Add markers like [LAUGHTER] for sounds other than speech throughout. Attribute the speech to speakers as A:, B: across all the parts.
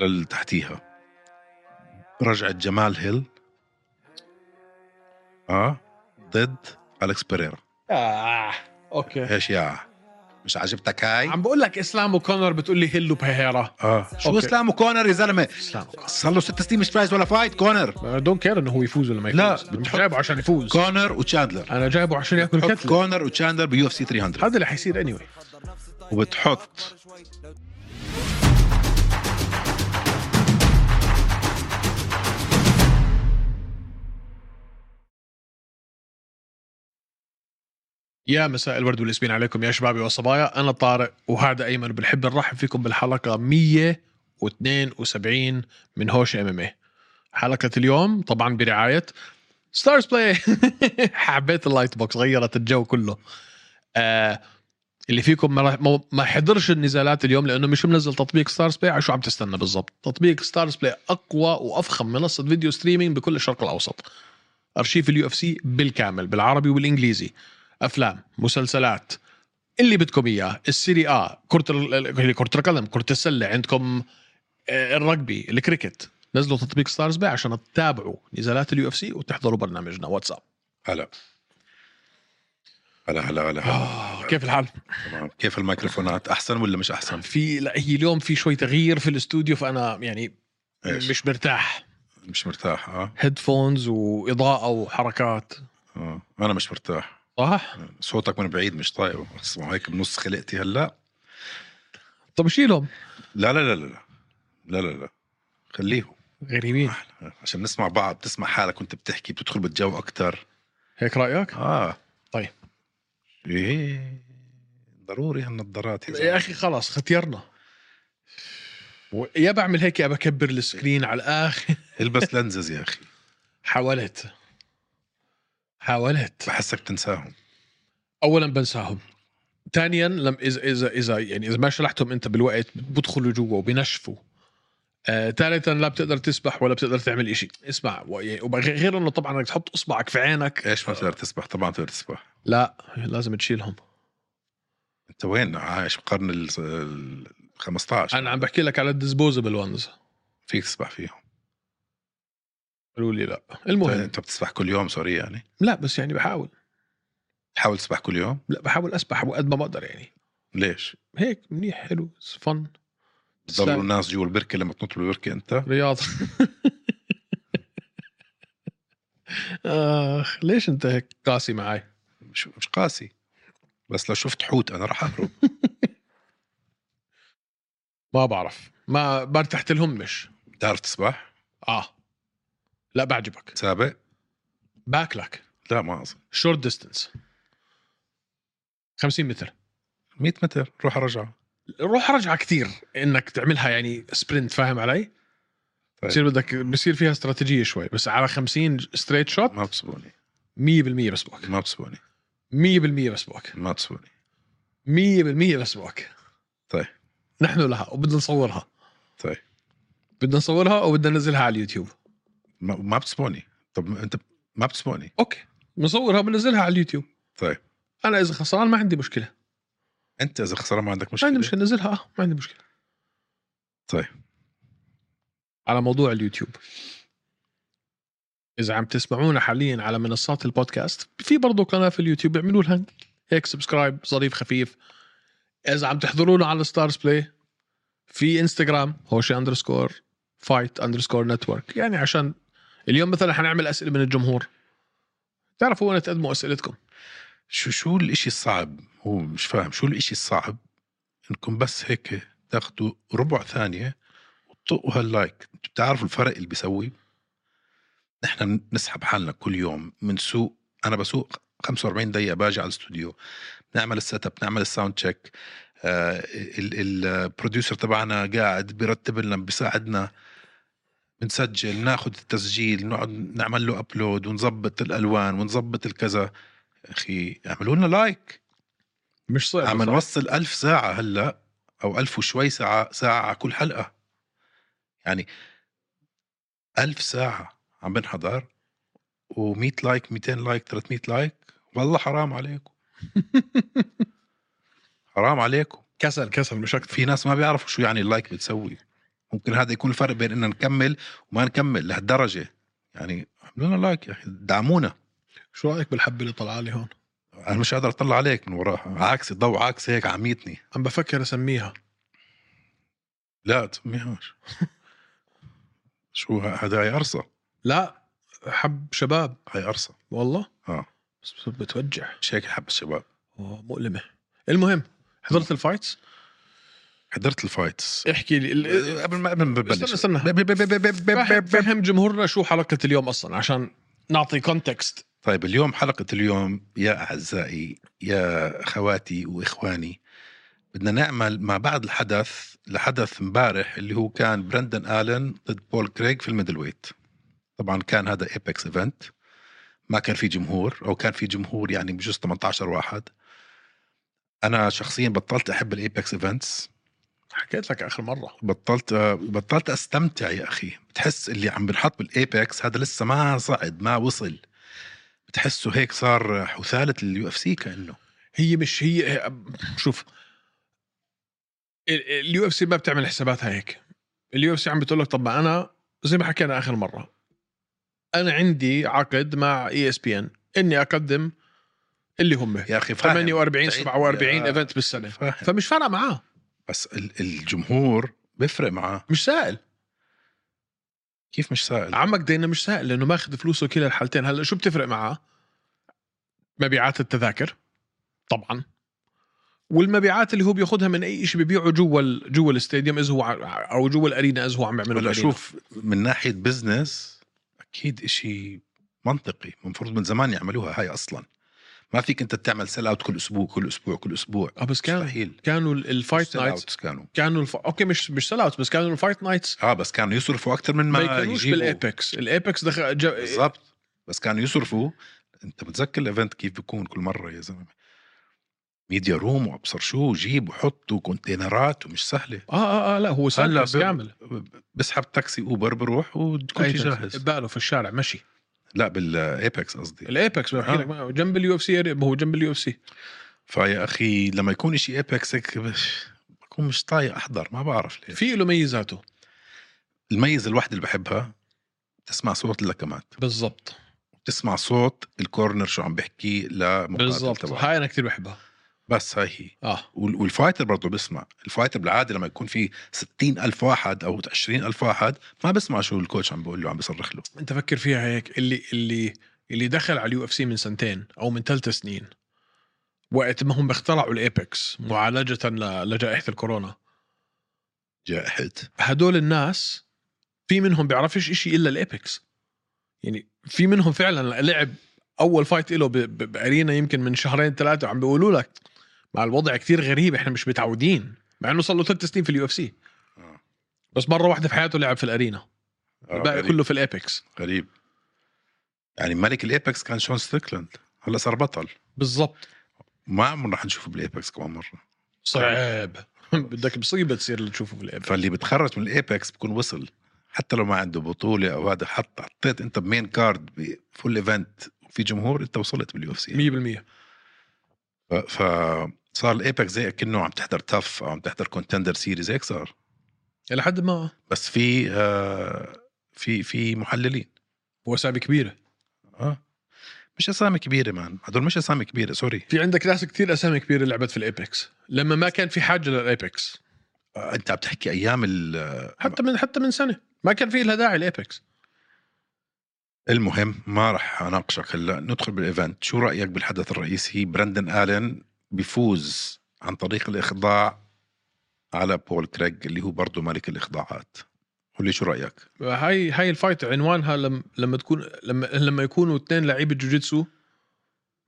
A: اللي تحتيها رجعت جمال هيل اه ضد الكس بيريرا
B: آه. اوكي
A: ايش يا مش عجبتك هاي
B: عم بقول لك اسلام وكونر بتقول لي هيل وبهيرا
A: اه شو
B: أوكي.
A: اسلام وكونر يا زلمه
B: اسلام
A: صار له ست سنين مش فايز ولا فايت كونر
B: دونت كير انه هو يفوز ولا ما يفوز
A: لا،
B: أنا مش
A: بتحط-
B: جايبه عشان يفوز
A: كونر وتشاندلر
B: انا جايبه عشان ياكل
A: بتحط
B: كتله
A: كونر وتشاندلر بيو اف سي 300
B: هذا اللي حيصير اني anyway.
A: وبتحط
B: يا مساء الورد والياسمين عليكم يا شبابي وصبايا انا طارق وهذا ايمن بنحب نرحب فيكم بالحلقه 172 من هوش ام ام حلقه اليوم طبعا برعايه ستارز بلاي [LAUGHS] حبيت اللايت بوكس غيرت الجو كله آه اللي فيكم ما, راح- ما- ما حضرش النزالات اليوم لانه مش منزل تطبيق ستارز بلاي على شو عم تستنى بالضبط تطبيق ستارز بلاي اقوى وافخم منصه فيديو ستريمينج بكل الشرق الاوسط ارشيف اليو اف سي بالكامل بالعربي والانجليزي افلام مسلسلات اللي بدكم اياه السيري اه كره ال- ال- هي كره القدم كره السله عندكم آه، الرجبي الكريكت نزلوا تطبيق ستارز باي عشان تتابعوا نزالات اليو اف سي وتحضروا برنامجنا واتساب
A: هلا هلا هلا هلا هلا
B: آه كيف الحال
A: تمام كيف الميكروفونات احسن ولا مش احسن
B: في لا هي اليوم في شوي تغيير في الاستوديو فانا يعني
A: إيش؟
B: مش مرتاح
A: مش مرتاح اه,
B: هيدفونز واضاءه وحركات
A: آه. انا مش مرتاح
B: صح
A: صوتك من بعيد مش طايقه اسمع هيك بنص خلقتي هلا
B: طب شيلهم
A: لا لا لا لا لا لا لا لا خليهم
B: غريبين
A: عشان نسمع بعض بتسمع حالك وانت بتحكي بتدخل بالجو اكثر
B: هيك رايك
A: اه
B: طيب.
A: ايه ضروري هالنظارات يا
B: يا
A: زلمه
B: اخي خلاص ختيرنا و- يا بعمل هيك يا بكبر السكرين على الاخر
A: البس لنزز يا اخي
B: [LAUGHS] حاولت حاولت
A: بحسك بتنساهم
B: اولا بنساهم ثانيا لم اذا اذا اذا يعني اذا ما شلحتهم انت بالوقت بدخلوا جوا وبنشفوا آه، ثالثا لا بتقدر تسبح ولا بتقدر تعمل إشي اسمع و- يعني وب- غير انه طبعا انك تحط اصبعك في عينك
A: ايش ما تقدر تسبح طبعا تقدر تسبح
B: لا لازم تشيلهم
A: انت وين عايش بقرن ال ال- 15
B: انا عم بحكي لك على الديسبوزبل وانز
A: فيك تسبح فيهم
B: قالوا لي لا
A: طيب،
B: المهم
A: انت بتسبح كل يوم سوري يعني
B: لا بس يعني بحاول
A: تحاول تسبح كل يوم
B: لا بحاول اسبح وقد ما بقدر يعني
A: ليش
B: هيك منيح حلو فن
A: بتضلوا الناس جوا البركه لما تنط بالبركه انت
B: رياض [LAUGHS] اخ ليش انت هيك قاسي معي
A: مش, مش قاسي بس لو شفت حوت انا راح اهرب
B: ما بعرف ما برتاح لهمش
A: بتعرف تسبح
B: اه لا بعجبك
A: سابق
B: باكلك
A: لا ما اظن
B: شورت ديستنس 50 متر
A: 100 متر روح رجع
B: روح رجعة كثير انك تعملها يعني سبرنت فاهم علي؟
A: طيب.
B: بصير بدك بصير فيها استراتيجيه شوي بس على 50 ستريت شوت 100%
A: ما بسبوني
B: بسبقك 100%
A: ما بسبوني
B: بسبقك
A: ما بسبوني
B: 100% بسبقك
A: طيب.
B: نحن لها وبدنا نصورها
A: طيب.
B: بدنا نصورها وبدنا ننزلها على اليوتيوب
A: ما, ما بسبوني طب انت ما بتسبقني
B: اوكي بنصورها وبننزلها على اليوتيوب
A: طيب.
B: انا اذا خسران ما عندي مشكله
A: انت اذا خسران ما عندك
B: مش
A: مشكله
B: عندي مشكله ننزلها اه ما عندي مشكله
A: طيب.
B: على موضوع اليوتيوب اذا عم تسمعونا حاليا على منصات البودكاست في برضه قناه في اليوتيوب اعملوا لها هيك سبسكرايب ظريف خفيف اذا عم تحضرونا على ستارز بلاي في انستغرام هوشي اندرسكور فايت اندرسكور نتورك يعني عشان اليوم مثلا حنعمل اسئله من الجمهور تعرفوا وين تقدموا اسئلتكم
A: شو شو الاشي الصعب هو مش فاهم شو الاشي الصعب انكم بس هيك تاخذوا ربع ثانيه وتطقوا هاللايك انتوا بتعرفوا الفرق اللي بيسوي نحن بنسحب حالنا كل يوم من سوق انا بسوق 45 دقيقه باجي على الاستوديو بنعمل السيت اب بنعمل آه، الساوند تشيك البروديوسر تبعنا قاعد بيرتب لنا بيساعدنا بنسجل ناخذ التسجيل نقعد نعمل له ابلود ونظبط الالوان ونظبط الكذا اخي اعملوا لنا لايك
B: مش صعب
A: عم
B: صح؟
A: نوصل ألف ساعة هلا أو ألف وشوي ساعة ساعة على كل حلقة يعني ألف ساعة عم بنحضر و100 لايك 200 لايك 300 لايك والله حرام عليكم حرام عليكم
B: كسل كسل مش اكثر
A: في ناس ما بيعرفوا شو يعني اللايك بتسوي ممكن هذا يكون الفرق بين اننا نكمل وما نكمل لهالدرجه يعني اعملوا لنا لايك يا اخي دعمونا
B: شو رايك بالحبه اللي طلع لي هون
A: انا مش قادر اطلع عليك من وراها عكس الضوء عكس هيك عميتني
B: عم بفكر اسميها
A: لا تسميهاش شو ه- هذا هاي قرصه
B: لا حب شباب
A: هاي قرصه
B: والله
A: آه.
B: بس بس بتوجع
A: مش هيك حب الشباب
B: آه، مؤلمه المهم حضرت الفايتس
A: حضرت الفايتس
B: احكي لي ال-
A: إيه، قبل ما قبل ما
B: استنى
A: ببلش
B: استنى
A: ب- ب- ب- ب- ب-
B: فهم-
A: ب- ب-
B: فهم جمهورنا شو حلقه اليوم اصلا عشان نعطي كونتكست
A: طيب اليوم حلقة اليوم يا أعزائي يا أخواتي وإخواني بدنا نعمل مع بعض الحدث لحدث امبارح اللي هو كان برندن آلن ضد بول كريغ في الميدل ويت طبعا كان هذا ايبكس ايفنت ما كان في جمهور أو كان في جمهور يعني بجوز 18 واحد أنا شخصيا بطلت أحب الايبكس ايفنتس
B: حكيت لك اخر مره
A: بطلت بطلت استمتع يا اخي بتحس اللي عم بنحط بالايبكس هذا لسه ما صعد ما وصل بتحسه هيك صار حثاله اليو اف سي كانه
B: هي مش هي شوف اليو اف سي ما بتعمل حساباتها هيك اليو اف سي عم بتقول لك طب ما انا زي ما حكينا اخر مره انا عندي عقد مع اي اس بي ان اني اقدم اللي هم
A: يا اخي فاهم
B: 48
A: تعيد-
B: 47
A: يا-
B: ايفنت بالسنه
A: فاهم
B: فمش فارقه معاه
A: بس ال- الجمهور بيفرق معاه
B: مش سائل
A: كيف مش سائل
B: عمك دينا مش سائل لانه ماخذ فلوسه كلا الحالتين هلا شو بتفرق معاه مبيعات التذاكر طبعا والمبيعات اللي هو بياخذها من اي شيء ببيعه جوا ال- جوا الاستاديوم اذا هو ع- او جوا الارينا اذا هو عم يعمله
A: هلا
B: بالأرينا.
A: شوف من ناحيه بزنس اكيد إشي منطقي المفروض من زمان يعملوها هاي اصلا ما فيك انت تعمل سيل اوت كل اسبوع كل اسبوع كل اسبوع
B: اه بس كان
A: مستحيل
B: كانوا ال- الفايت
A: سيل
B: نايتس
A: اوتس كانوا
B: كانوا الف... اوكي مش مش سيل بس كانوا الفايت نايتس
A: اه بس كانوا يصرفوا اكثر من
B: ما
A: ما
B: يكونوش
A: يجيبوا
B: بالايبكس الايبكس دخل ج...
A: بالضبط بس كانوا يصرفوا انت متذكر الايفنت كيف بيكون كل مره يا زلمه ميديا روم وابصر شو جيب وحط وكونتينرات ومش سهله
B: اه اه اه لا هو
A: هلا
B: سيل
A: ب-
B: كامل
A: بسحب تاكسي اوبر بروح وكل
B: أي
A: شيء
B: تاكسي.
A: جاهز
B: بقاله في الشارع مشي
A: لا بالايبكس قصدي
B: الايبكس بحكي
A: آه.
B: لك ما- جنب اليو اف سي هو جنب اليو اف سي
A: فيا اخي لما يكون شيء ايبكس هيك بش- بكون مش طايق احضر ما بعرف ليش
B: في له ميزاته
A: الميزه الوحده اللي بحبها تسمع صوت اللكمات
B: بالضبط
A: تسمع صوت الكورنر شو عم بحكي لمقاتل
B: بالضبط
A: تبعه
B: هاي انا كثير بحبها
A: بس هاي هي
B: اه
A: وال- والفايتر برضه بيسمع الفايتر بالعاده لما يكون في 60 ألف واحد او 20 ألف واحد ما بسمع شو الكوتش عم بيقول له عم بيصرخ له
B: انت فكر فيها هيك اللي اللي اللي دخل على اليو اف سي من سنتين او من ثلاث سنين وقت ما هم اخترعوا الايبكس معالجه ل- لجائحه الكورونا
A: جاحد
B: هدول الناس في منهم بيعرفش إشي الا الايبكس يعني في منهم فعلا لعب اول فايت له بارينا يمكن من شهرين ثلاثه وعم بيقولوا لك مع الوضع كتير غريب احنا مش متعودين مع انه صار له ثلاث سنين في اليو اف سي
A: آه.
B: بس مره واحده في حياته لعب في الارينا الباقي
A: غريب.
B: كله في الايبكس
A: غريب يعني ملك الايبكس كان شون ستريكلاند هلا صار بطل
B: بالضبط
A: ما عمرنا رح نشوفه بالايبكس كمان مره
B: صعب [LAUGHS] بدك مصيبه تصير اللي تشوفه في الاب
A: فاللي بتخرج من الايبكس بكون وصل حتى لو ما عنده بطوله او هذا حط حطيت انت بمين كارد بفول ايفنت وفي جمهور انت وصلت باليو اف سي
B: 100%
A: ف- فصار الايبكس زي كأنه عم تحضر تف او عم تحضر كونتندر سيريز هيك صار
B: الى حد ما
A: بس في آه في في محللين
B: وسائل كبيره
A: اه مش اسامي كبيره مان هدول مش اسامي كبيره سوري
B: في عندك ناس كثير اسامي كبيره لعبت في الابيكس لما ما كان في حاجه للابيكس
A: آه انت عم تحكي ايام ال-
B: حتى من حتى من سنه ما كان في لها داعي الابيكس
A: المهم ما راح اناقشك هلا ندخل بالايفنت شو رايك بالحدث الرئيسي براندن الين بيفوز عن طريق الاخضاع على بول كريغ اللي هو برضه ملك الاخضاعات قول لي شو رايك
B: هاي هاي الفايت عنوانها لما لما تكون لما لما يكونوا اثنين لعيبه جوجيتسو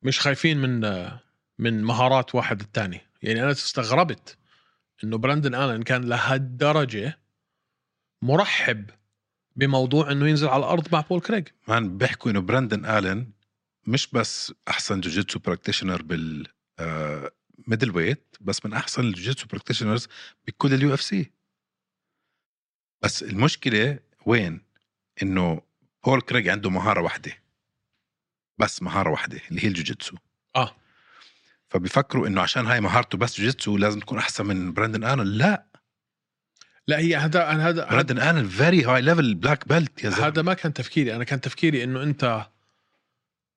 B: مش خايفين من من مهارات واحد الثاني يعني انا استغربت انه براندن الن كان لهالدرجه مرحب بموضوع انه ينزل على الارض مع بول كريج
A: مان بيحكوا انه براندن الين مش بس احسن جوجيتسو براكتيشنر بال آه، ميدل ويت بس من احسن الجوجيتسو براكتيشنرز بكل اليو اف سي بس المشكله وين انه بول كريج عنده مهاره واحده بس مهاره واحده اللي هي الجوجيتسو
B: اه
A: فبيفكروا انه عشان هاي مهارته بس جوجيتسو لازم تكون احسن من براندن الين لا
B: لا هي هذا أنا هذا هذا-
A: بعدين انا فيري هاي ليفل بلاك بيلت يا زلمه
B: هذا ما كان تفكيري انا كان تفكيري انه انت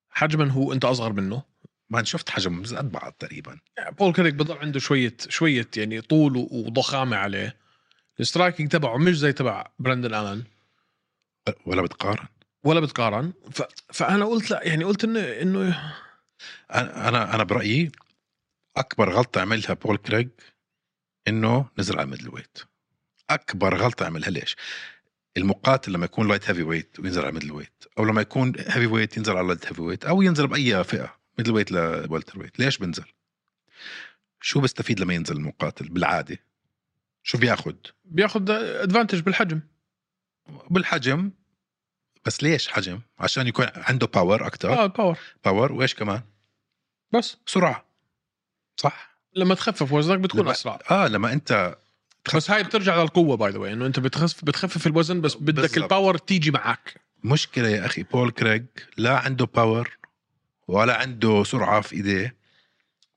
B: حجما هو انت اصغر منه
A: ما أنا شفت حجم قد بعض تقريبا
B: يعني بول كريك بضل عنده شويه شويه يعني طول و- وضخامه عليه السترايكنج تبعه مش زي تبع براندن الان
A: ولا بتقارن
B: ولا بتقارن ف... فانا قلت لا يعني قلت انه انه
A: انا انا انا برايي اكبر غلطه عملها بول كريج انه نزل على ميدل ويت اكبر غلطه عملها ليش؟ المقاتل لما يكون لايت هيفي ويت وينزل على ميدل ويت او لما يكون هيفي ويت ينزل على لايت هيفي ويت او ينزل باي فئه ميدل ويت لولتر ويت ليش بنزل؟ شو بستفيد لما ينزل المقاتل بالعاده؟ شو بياخد؟
B: بياخذ ادفانتج بالحجم
A: بالحجم بس ليش حجم؟ عشان يكون عنده باور اكثر
B: اه الباور
A: باور وايش كمان؟
B: بس
A: سرعه صح؟
B: لما تخفف وزنك بتكون
A: لما-
B: اسرع
A: اه لما انت
B: بس هاي بترجع للقوه باي ذا واي انه انت بتخفف بتخفف الوزن بس بدك
A: بالضبط.
B: الباور تيجي معك
A: مشكلة يا أخي بول كريج لا عنده باور ولا عنده سرعة في إيديه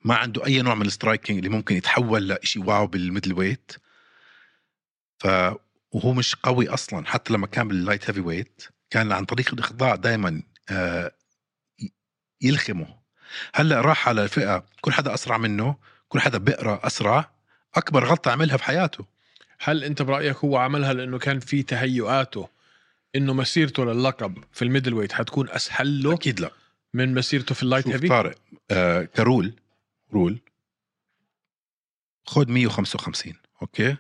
A: ما عنده أي نوع من السترايكينج اللي ممكن يتحول لإشي واو بالميدل ويت ف وهو مش قوي أصلا حتى لما كان باللايت هيفي ويت كان عن طريق الإخضاع دائما يلخمه هلا راح على الفئة كل حدا أسرع منه كل حدا بقرا أسرع أكبر غلطة عملها بحياته
B: هل انت برايك هو عملها لانه كان في تهيؤاته انه مسيرته للقب في الميدل ويت حتكون اسهل له
A: أكيد لا
B: من مسيرته في اللايت
A: شوف
B: هيفي
A: طارق آه كرول رول خد 155 اوكي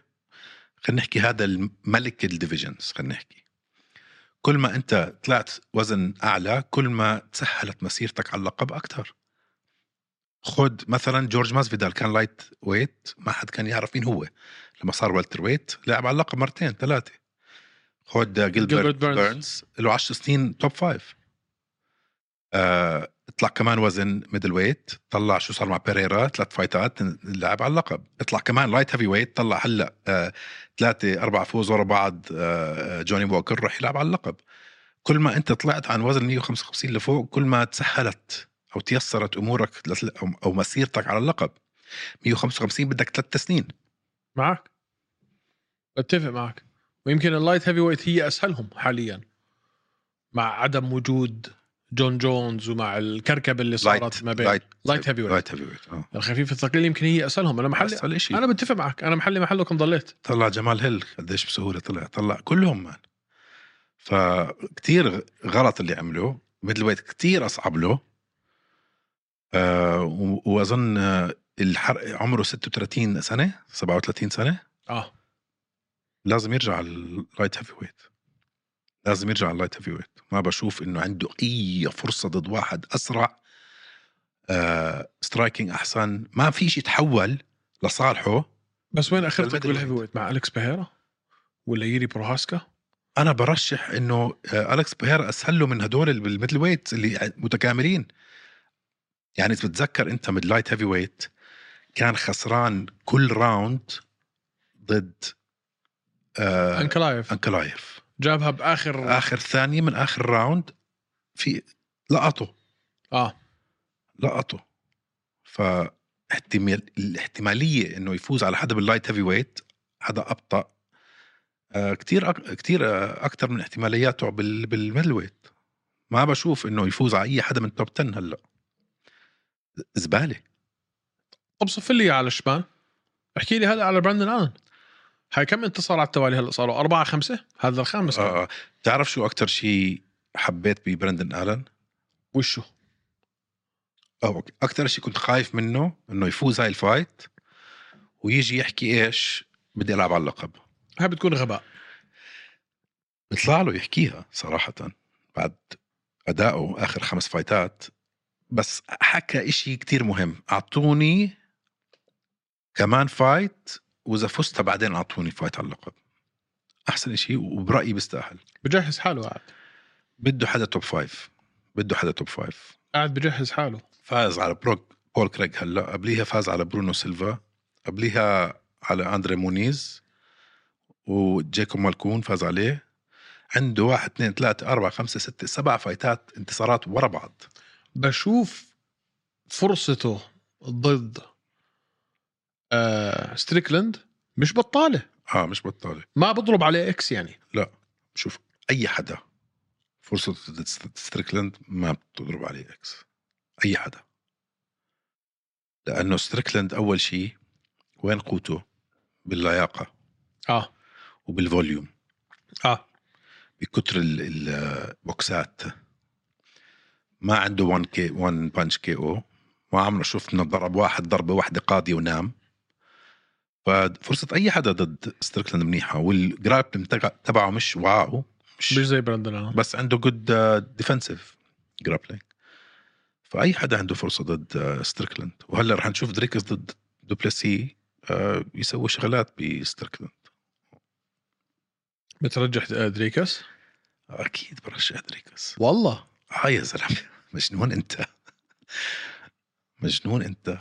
A: خلينا نحكي هذا الملك الديفيجنز خلينا نحكي كل ما انت طلعت وزن اعلى كل ما تسهلت مسيرتك على اللقب اكثر خد مثلا جورج ماسفيدال كان لايت ويت ما حد كان يعرف مين هو لما صار والتر ويت لعب على اللقب مرتين ثلاثه خد آه،
B: Gilbert
A: جيلبرت
B: Burns.
A: بيرنز. بيرنز له 10 سنين توب فايف آه، اطلع كمان وزن ميدل ويت طلع شو صار مع بيريرا ثلاث فايتات لعب على اللقب اطلع كمان لايت هيفي ويت طلع هلا آه، ثلاثه اربع فوز ورا بعض آه، آه، جوني ووكر راح يلعب على اللقب كل ما انت طلعت عن وزن 155 لفوق كل ما تسهلت او تيسرت امورك لت- أو- او مسيرتك على اللقب 155 بدك ثلاث سنين
B: معك بتفق معك ويمكن اللايت هيفي ويت هي اسهلهم حاليا مع عدم وجود جون جونز ومع الكركبه اللي صارت ما بين
A: لايت
B: لايت هيفي ويت
A: لايت هيفي ويت اه
B: الخفيف الثقيل يمكن هي اسهلهم انا محل
A: بس هالشيء
B: انا بتفق معك انا محلي محلكم ضليت
A: طلع جمال هيل قديش بسهوله طلع طلع كلهم مان فكتير غلط اللي عمله ميدل ويت كتير اصعب له آه و- واظن آه، الحرق عمره 36 سنه 37 سنه
B: اه
A: لازم يرجع على اللايت هيفي ويت لازم يرجع على اللايت هيفي ويت ما بشوف انه عنده اي فرصه ضد واحد اسرع آه سترايكينج احسن ما في شيء تحول لصالحه
B: بس وين اخرتك
A: بالميدل
B: بالهيفي
A: ويت.
B: ويت مع الكس بيهيرا ولا ييري بروهاسكا
A: انا برشح انه آه، الكس بيهير اسهل له من هدول اللي بالميدل ويت اللي متكاملين يعني اذا بتتذكر انت من لايت هيفي ويت كان خسران كل راوند ضد آه
B: انكلايف
A: انكلايف
B: جابها باخر
A: اخر ثانيه من اخر راوند في لقطه
B: اه
A: لقطه ف الاحتماليه انه يفوز على حدا باللايت هيفي ويت حدا ابطا آه، كتير أك... كتير اكثر من احتمالياته بال... بالميدل ويت ما بشوف انه يفوز على اي حدا من توب 10 هلا زباله
B: طب صف لي إياه على الشمال احكي لي هلا على براندن الان هاي كم انتصار على التوالي هلا صاروا أربعة خمسة هذا الخامس آه.
A: آه. تعرف شو اكثر شيء حبيت ببرندن الن
B: وشو
A: او اكثر شيء كنت خايف منه انه يفوز هاي الفايت ويجي يحكي ايش بدي العب على اللقب
B: هاي بتكون غباء
A: بيطلع له يحكيها صراحة بعد أدائه آخر خمس فايتات بس حكى إشي كتير مهم أعطوني كمان فايت وإذا فزت بعدين أعطوني فايت على اللقب أحسن إشي وبرأيي بيستاهل
B: بجهز حاله قاعد
A: بده حدا توب فايف بده حدا توب فايف
B: قاعد بجهز حاله
A: فاز على بروك بول كريج هلا قبليها فاز على برونو سيلفا قبليها على أندري مونيز وجيكوب مالكون فاز عليه عنده واحد اثنين ثلاثة أربعة خمسة ستة سبع فايتات انتصارات ورا بعض
B: بشوف فرصته ضد آه ستريكلند مش بطالة
A: اه مش بطاله
B: ما بضرب عليه اكس يعني
A: شوف اي حدا فرصه ضد ستريكلاند ما بتضرب عليه اكس اي حدا لانه ستريكلاند اول شيء وين قوته باللياقه
B: اه
A: وبالفوليوم
B: اه
A: بكتر ال- البوكسات ما عنده 1 كي 1 بانش كي او ما عمره شفنا ضرب واحد ضربه واحده قاضيه ونام ففرصه اي حدا ضد ستريكلاند منيحه والجرابل تبعه مش واو مش
B: مش زي براندن آه.
A: بس عنده آه، جود ديفنسيف جرابلينج فاي حدا عنده فرصه ضد ستريكلاند وهلا رح نشوف دريكس ضد دوبلاسي آه، يسوي شغلات بستريكلاند
B: بترجح آه، دريكس
A: اكيد برشح دريكس
B: والله
A: اه يا زلمه مجنون انت مجنون انت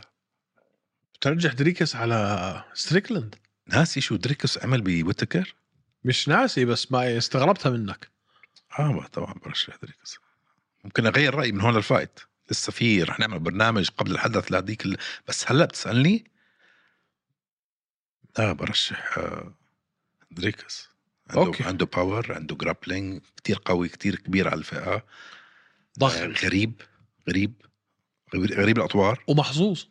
B: بترجح دريكس على ستريكلاند
A: ناسي شو دريكس عمل بويتكر
B: مش ناسي بس ما استغربتها منك
A: اه ما طبعا برشح دريكس ممكن اغير رايي من هون للفايت لسه في رح نعمل برنامج قبل الحدث لهذيك ال... بس هلا بتسالني اه برشح آه، دريكس عنده
B: أوكي.
A: أوكي. عنده باور عنده جرابلينج كتير قوي كتير كبير على الفئه آه،
B: ضخم
A: غريب غريب غريب, غريب الاطوار
B: ومحظوظ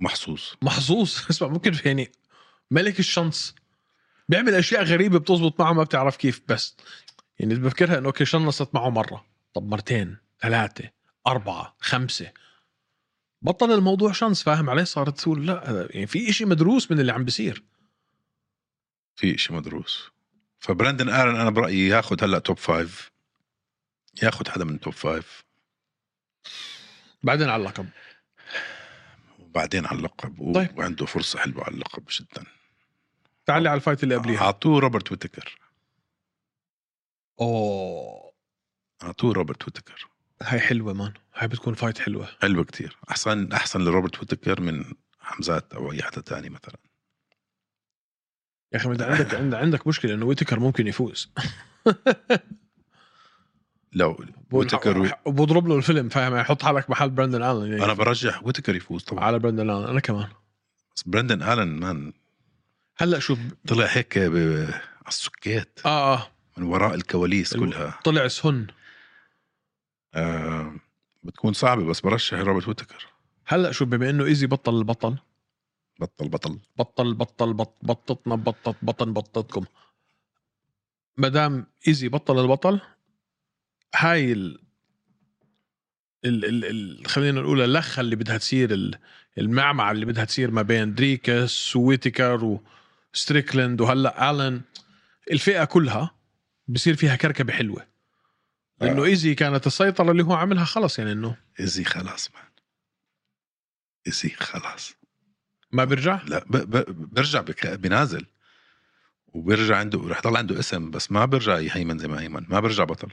A: محظوظ
B: محظوظ [LAUGHS] اسمع ممكن في- يعني ملك الشمس بيعمل اشياء غريبه بتزبط معه ما بتعرف كيف بس يعني بفكرها انه اوكي شنصت معه مره طب مرتين ثلاثه اربعه خمسه بطل الموضوع شنس فاهم عليه صارت تقول لا هذا- يعني في إشي مدروس من اللي عم بيصير
A: في شيء مدروس فبراندن ارن انا برايي ياخذ هلا توب فايف ياخذ حدا من توب فايف
B: بعدين على اللقب
A: وبعدين على اللقب و...
B: طيب.
A: وعنده فرصه حلوه على اللقب جدا
B: تعال لي على الفايت اللي قبليها
A: اعطوه روبرت ويتكر
B: اوه
A: اعطوه روبرت ويتكر
B: هاي حلوه مان هاي بتكون فايت حلوه
A: حلوه كتير احسن احسن لروبرت ويتكر من حمزات او اي حدا تاني مثلا
B: يا اخي ما انت عندك عند- عندك مشكله انه ويتكر ممكن يفوز
A: لو ويتكر
B: ويتكر وبضرب له الفيلم فاهم يحط حالك محل براندن الن يعني
A: انا برجح ويتكر يفوز طبعا
B: على براندن الن انا كمان
A: بس براندن الن مان
B: هلا شوف
A: طلع هيك ب... على السكيت
B: اه اه
A: من وراء الكواليس
B: الو-
A: كلها
B: طلع سهن
A: آه بتكون صعبه بس برشح روبرت ويتكر
B: هلا شوف بما انه ايزي بطل البطل
A: بطل بطل
B: بطل بطل بط بطتنا بطت بطن بطتكم ما دام ايزي بطل البطل هاي ال ال ال ال خلينا نقول اللخه اللي بدها تصير ال- المعمعه اللي بدها تصير ما بين دريكس وويتكر وستريكلند وهلا الن الفئه كلها بصير فيها كركبه حلوه لانه
A: آه.
B: ايزي كانت السيطره اللي هو عاملها خلص يعني انه
A: ازي خلاص مان ازي خلاص
B: ما بيرجع
A: لا ب... ب... برجع بك... بنازل وبرجع عنده رح يضل عنده اسم بس ما برجع يهيمن زي ما هيمن ما برجع بطل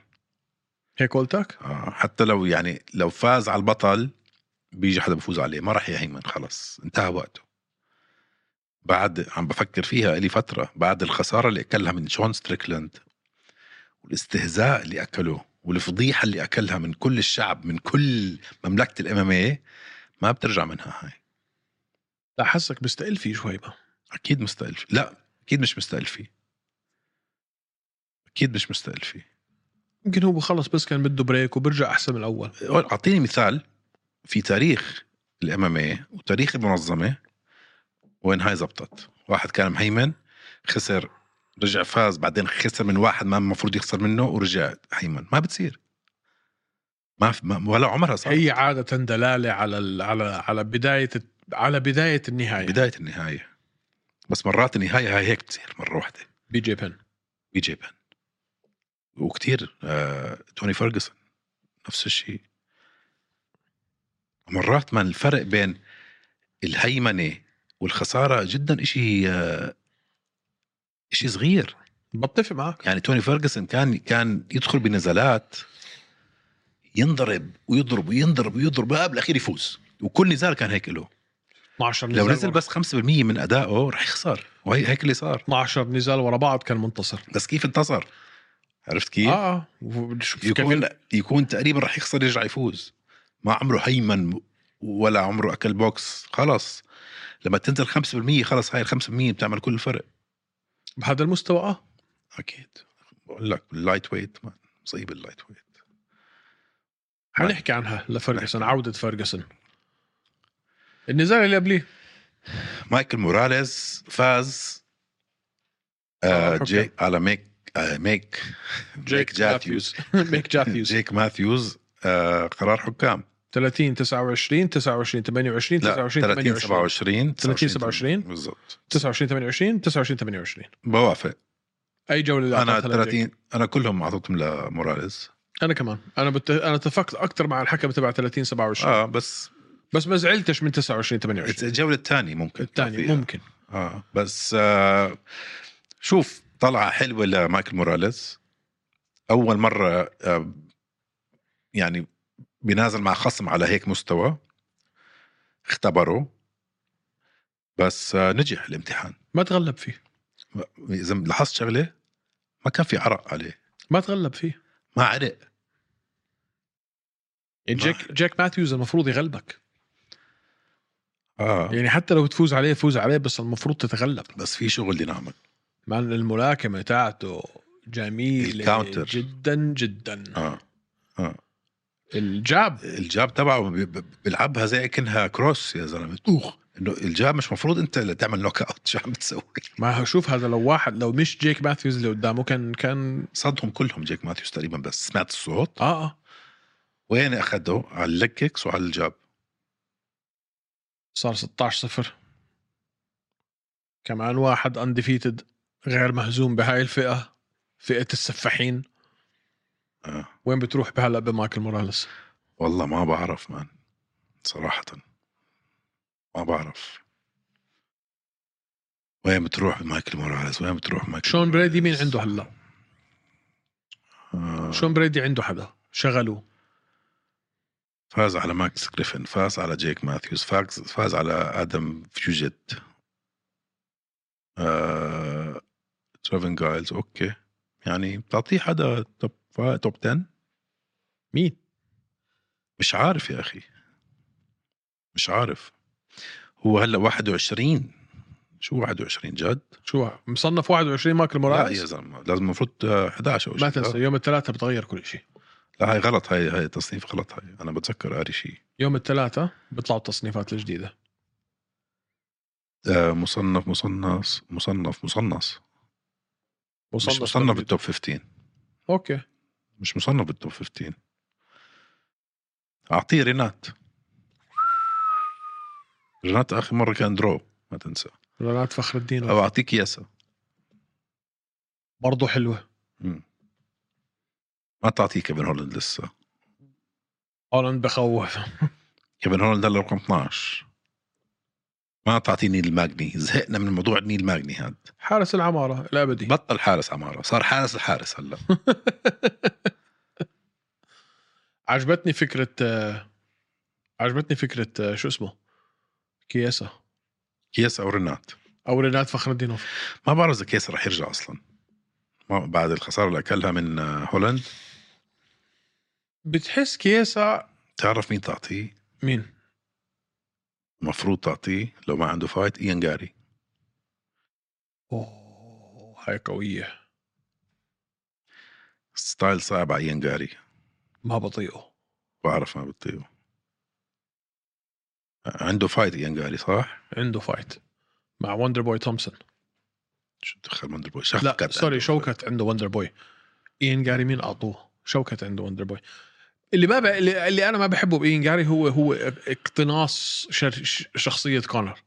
B: هيك قلتك
A: آه، حتى لو يعني لو فاز على البطل بيجي حدا بفوز عليه ما راح يهيمن خلص انتهى وقته بعد عم بفكر فيها لي فترة بعد الخسارة اللي أكلها من شون ستريكلاند والاستهزاء اللي أكله والفضيحة اللي أكلها من كل الشعب من كل مملكة الأمامية إيه، ما بترجع منها هاي
B: لا حسك مستقل فيه شوي ما
A: أكيد مستقل فيه. لا أكيد مش مستقل فيه أكيد مش مستقل فيه
B: يمكن هو خلص بس كان بده بريك وبرجع احسن من الاول
A: اعطيني مثال في تاريخ الاماميه وتاريخ المنظمه وين هاي زبطت واحد كان مهيمن خسر رجع فاز بعدين خسر من واحد ما المفروض يخسر منه ورجع هيمن ما بتصير ما, في ما ولا عمرها صار
B: هي عاده دلاله على ال... على على بدايه على بدايه النهايه
A: بدايه النهايه بس مرات النهايه هاي هيك بتصير مره واحده
B: بي جي بن
A: بي جي بن وكتير آه، توني فيرجسون نفس الشيء مرات ما الفرق بين الهيمنة والخسارة جدا اشي آه، اشي صغير
B: بتفق معك
A: يعني توني فيرجسون كان كان يدخل بنزالات ينضرب ويضرب وينضرب ويضرب آه، بالاخير يفوز وكل نزال كان هيك له
B: 12
A: لو
B: نزال
A: نزل
B: ورا-
A: بس 5% من ادائه رح يخسر وهي هيك اللي صار
B: 12 نزال ورا بعض كان منتصر
A: بس كيف انتصر عرفت كيف؟
B: اه آه. وب- شوف
A: يكون
B: كيفن-
A: يكون تقريبا رح يخسر يرجع يفوز ما عمره هيمن ولا عمره اكل بوكس خلص لما تنزل 5% خلص هاي ال 5% بتعمل كل الفرق
B: بهذا المستوى اه
A: اكيد بقول لك اللايت ويت ما- مصيبه اللايت ويت
B: حنحكي عنها لفرجسون عوده فرجسون النزال اللي قبليه
A: مايكل موراليز فاز
B: آه،
A: آه
B: أوكي.
A: جيك على ميك آه ميك ميك جاثيوز.
B: [LAUGHS] ميك جاثيوز
A: [LAUGHS] جيك ماثيوز آه قرار حكام
B: 30 29 29 28
A: لا
B: 29
A: 30 27
B: 28 30
A: 29.
B: 27.
A: بالضبط
B: 29 28 29 28
A: بوافق
B: اي جوله اللي
A: انا
B: أعطتها لجيك؟
A: 30 انا كلهم اعطيتهم لموراليز
B: انا كمان انا بت... انا اتفقت اكثر مع الحكم تبع 30 27 آه.
A: اه بس
B: بس ما زعلتش من 29
A: it's
B: 28
A: الجوله الثانيه ممكن
B: الثاني
A: فيها.
B: ممكن
A: اه بس آه شوف طلعه حلوه لمايكل موراليز اول مره آه يعني بينازل مع خصم على هيك مستوى اختبره بس آه نجح الامتحان
B: ما تغلب فيه
A: اذا لاحظت شغله ما كان في عرق عليه
B: ما تغلب فيه
A: ما عرق
B: يعني جاك جاك ماثيوز المفروض يغلبك
A: اه
B: يعني حتى لو تفوز عليه فوز عليه بس المفروض تتغلب
A: بس في شغل ينعمل
B: مع إن الملاكمه تاعته جميله
A: الكاونتر.
B: جدا جدا
A: اه
B: الجاب
A: الجاب تبعه بي- بي- بيلعبها زي كانها كروس يا زلمه
B: اوخ
A: انه الجاب مش مفروض انت اللي تعمل نوك اوت [LAUGHS] شو عم بتسوي
B: ما شوف هذا لو واحد لو مش جيك ماثيوز اللي قدامه كان كان
A: صدهم كلهم جيك ماثيوس تقريبا بس سمعت الصوت
B: اه اه
A: وين اخده على الليج كيكس وعلى الجاب
B: صار 16 0 كمان واحد انديفيتد غير مهزوم بهاي الفئه فئه السفاحين
A: آه.
B: وين بتروح بهلا بمايكل موراليس
A: والله ما بعرف مان صراحه ما بعرف وين بتروح مايكل موراليس وين بتروح مايكل
B: شون بريدي مين
A: موراليس؟
B: عنده هلا
A: آه.
B: شون بريدي عنده حدا شغلوه
A: فاز على ماكس جريفن فاز على جيك ماثيوس فاز فاز على ادم فيوجيت آه... ترافن جايلز اوكي يعني بتعطيه حدا توب فا- توب 10
B: مين
A: مش عارف يا اخي مش عارف هو هلا 21 شو 21 جد؟
B: شو مصنف 21 مايكل
A: لا يا
B: موراليس
A: زلمه لازم المفروض آه، 11 او
B: ما
A: شيء
B: تنسى
A: لا؟
B: يوم الثلاثاء بتغير كل شيء
A: لا هاي غلط هاي هاي تصنيف غلط هاي انا بتذكر قاري شيء
B: يوم الثلاثاء بيطلعوا التصنيفات الجديده
A: آه، مصنف مصنف مصنف مصنف مش مصنف
B: تقريباً.
A: بالتوب 15
B: اوكي
A: مش مصنف بالتوب 15 اعطيه رينات رينات اخر مره كان درو ما تنسى
B: رنات فخر الدين
A: او اعطيك ياسا
B: برضه حلوه
A: مم. ما تعطيه كيفن هولند لسه
B: هولند بخوف
A: كيفن هولند هلا رقم 12 ما تعطيه نيل ماجني زهقنا من موضوع نيل ماجني هذا
B: حارس العماره الابدي
A: بطل حارس عماره صار حارس الحارس هلا
B: عجبتني فكرة آه، عجبتني فكرة آه، شو اسمه كياسة
A: كياسا او رينات
B: أو رينات فخر الدين وف-
A: ما بعرف اذا كياسا رح يرجع اصلا ما بعد الخساره اللي اكلها من آه، هولند
B: بتحس كياسة
A: تعرف مين تعطيه
B: مين؟
A: مفروض تعطيه لو ما عنده فايت ايان جاري
B: أوه هاي قوية
A: ستايل صعب على ايان جاري
B: ما بطيئه
A: بعرف ما بتطيقه عنده فايت ايان جاري صح؟
B: عنده فايت مع وندر بوي تومسون
A: شو دخل مندر بوي
B: لا
A: شفقت
B: سوري
A: عنده.
B: شوكت عنده وندر بوي إين جاري مين أعطوه شوكت عنده وندر بوي اللي ما ب... اللي اللي انا ما بحبه باين جاري هو هو اقتناص شر... ش- شخصيه كونر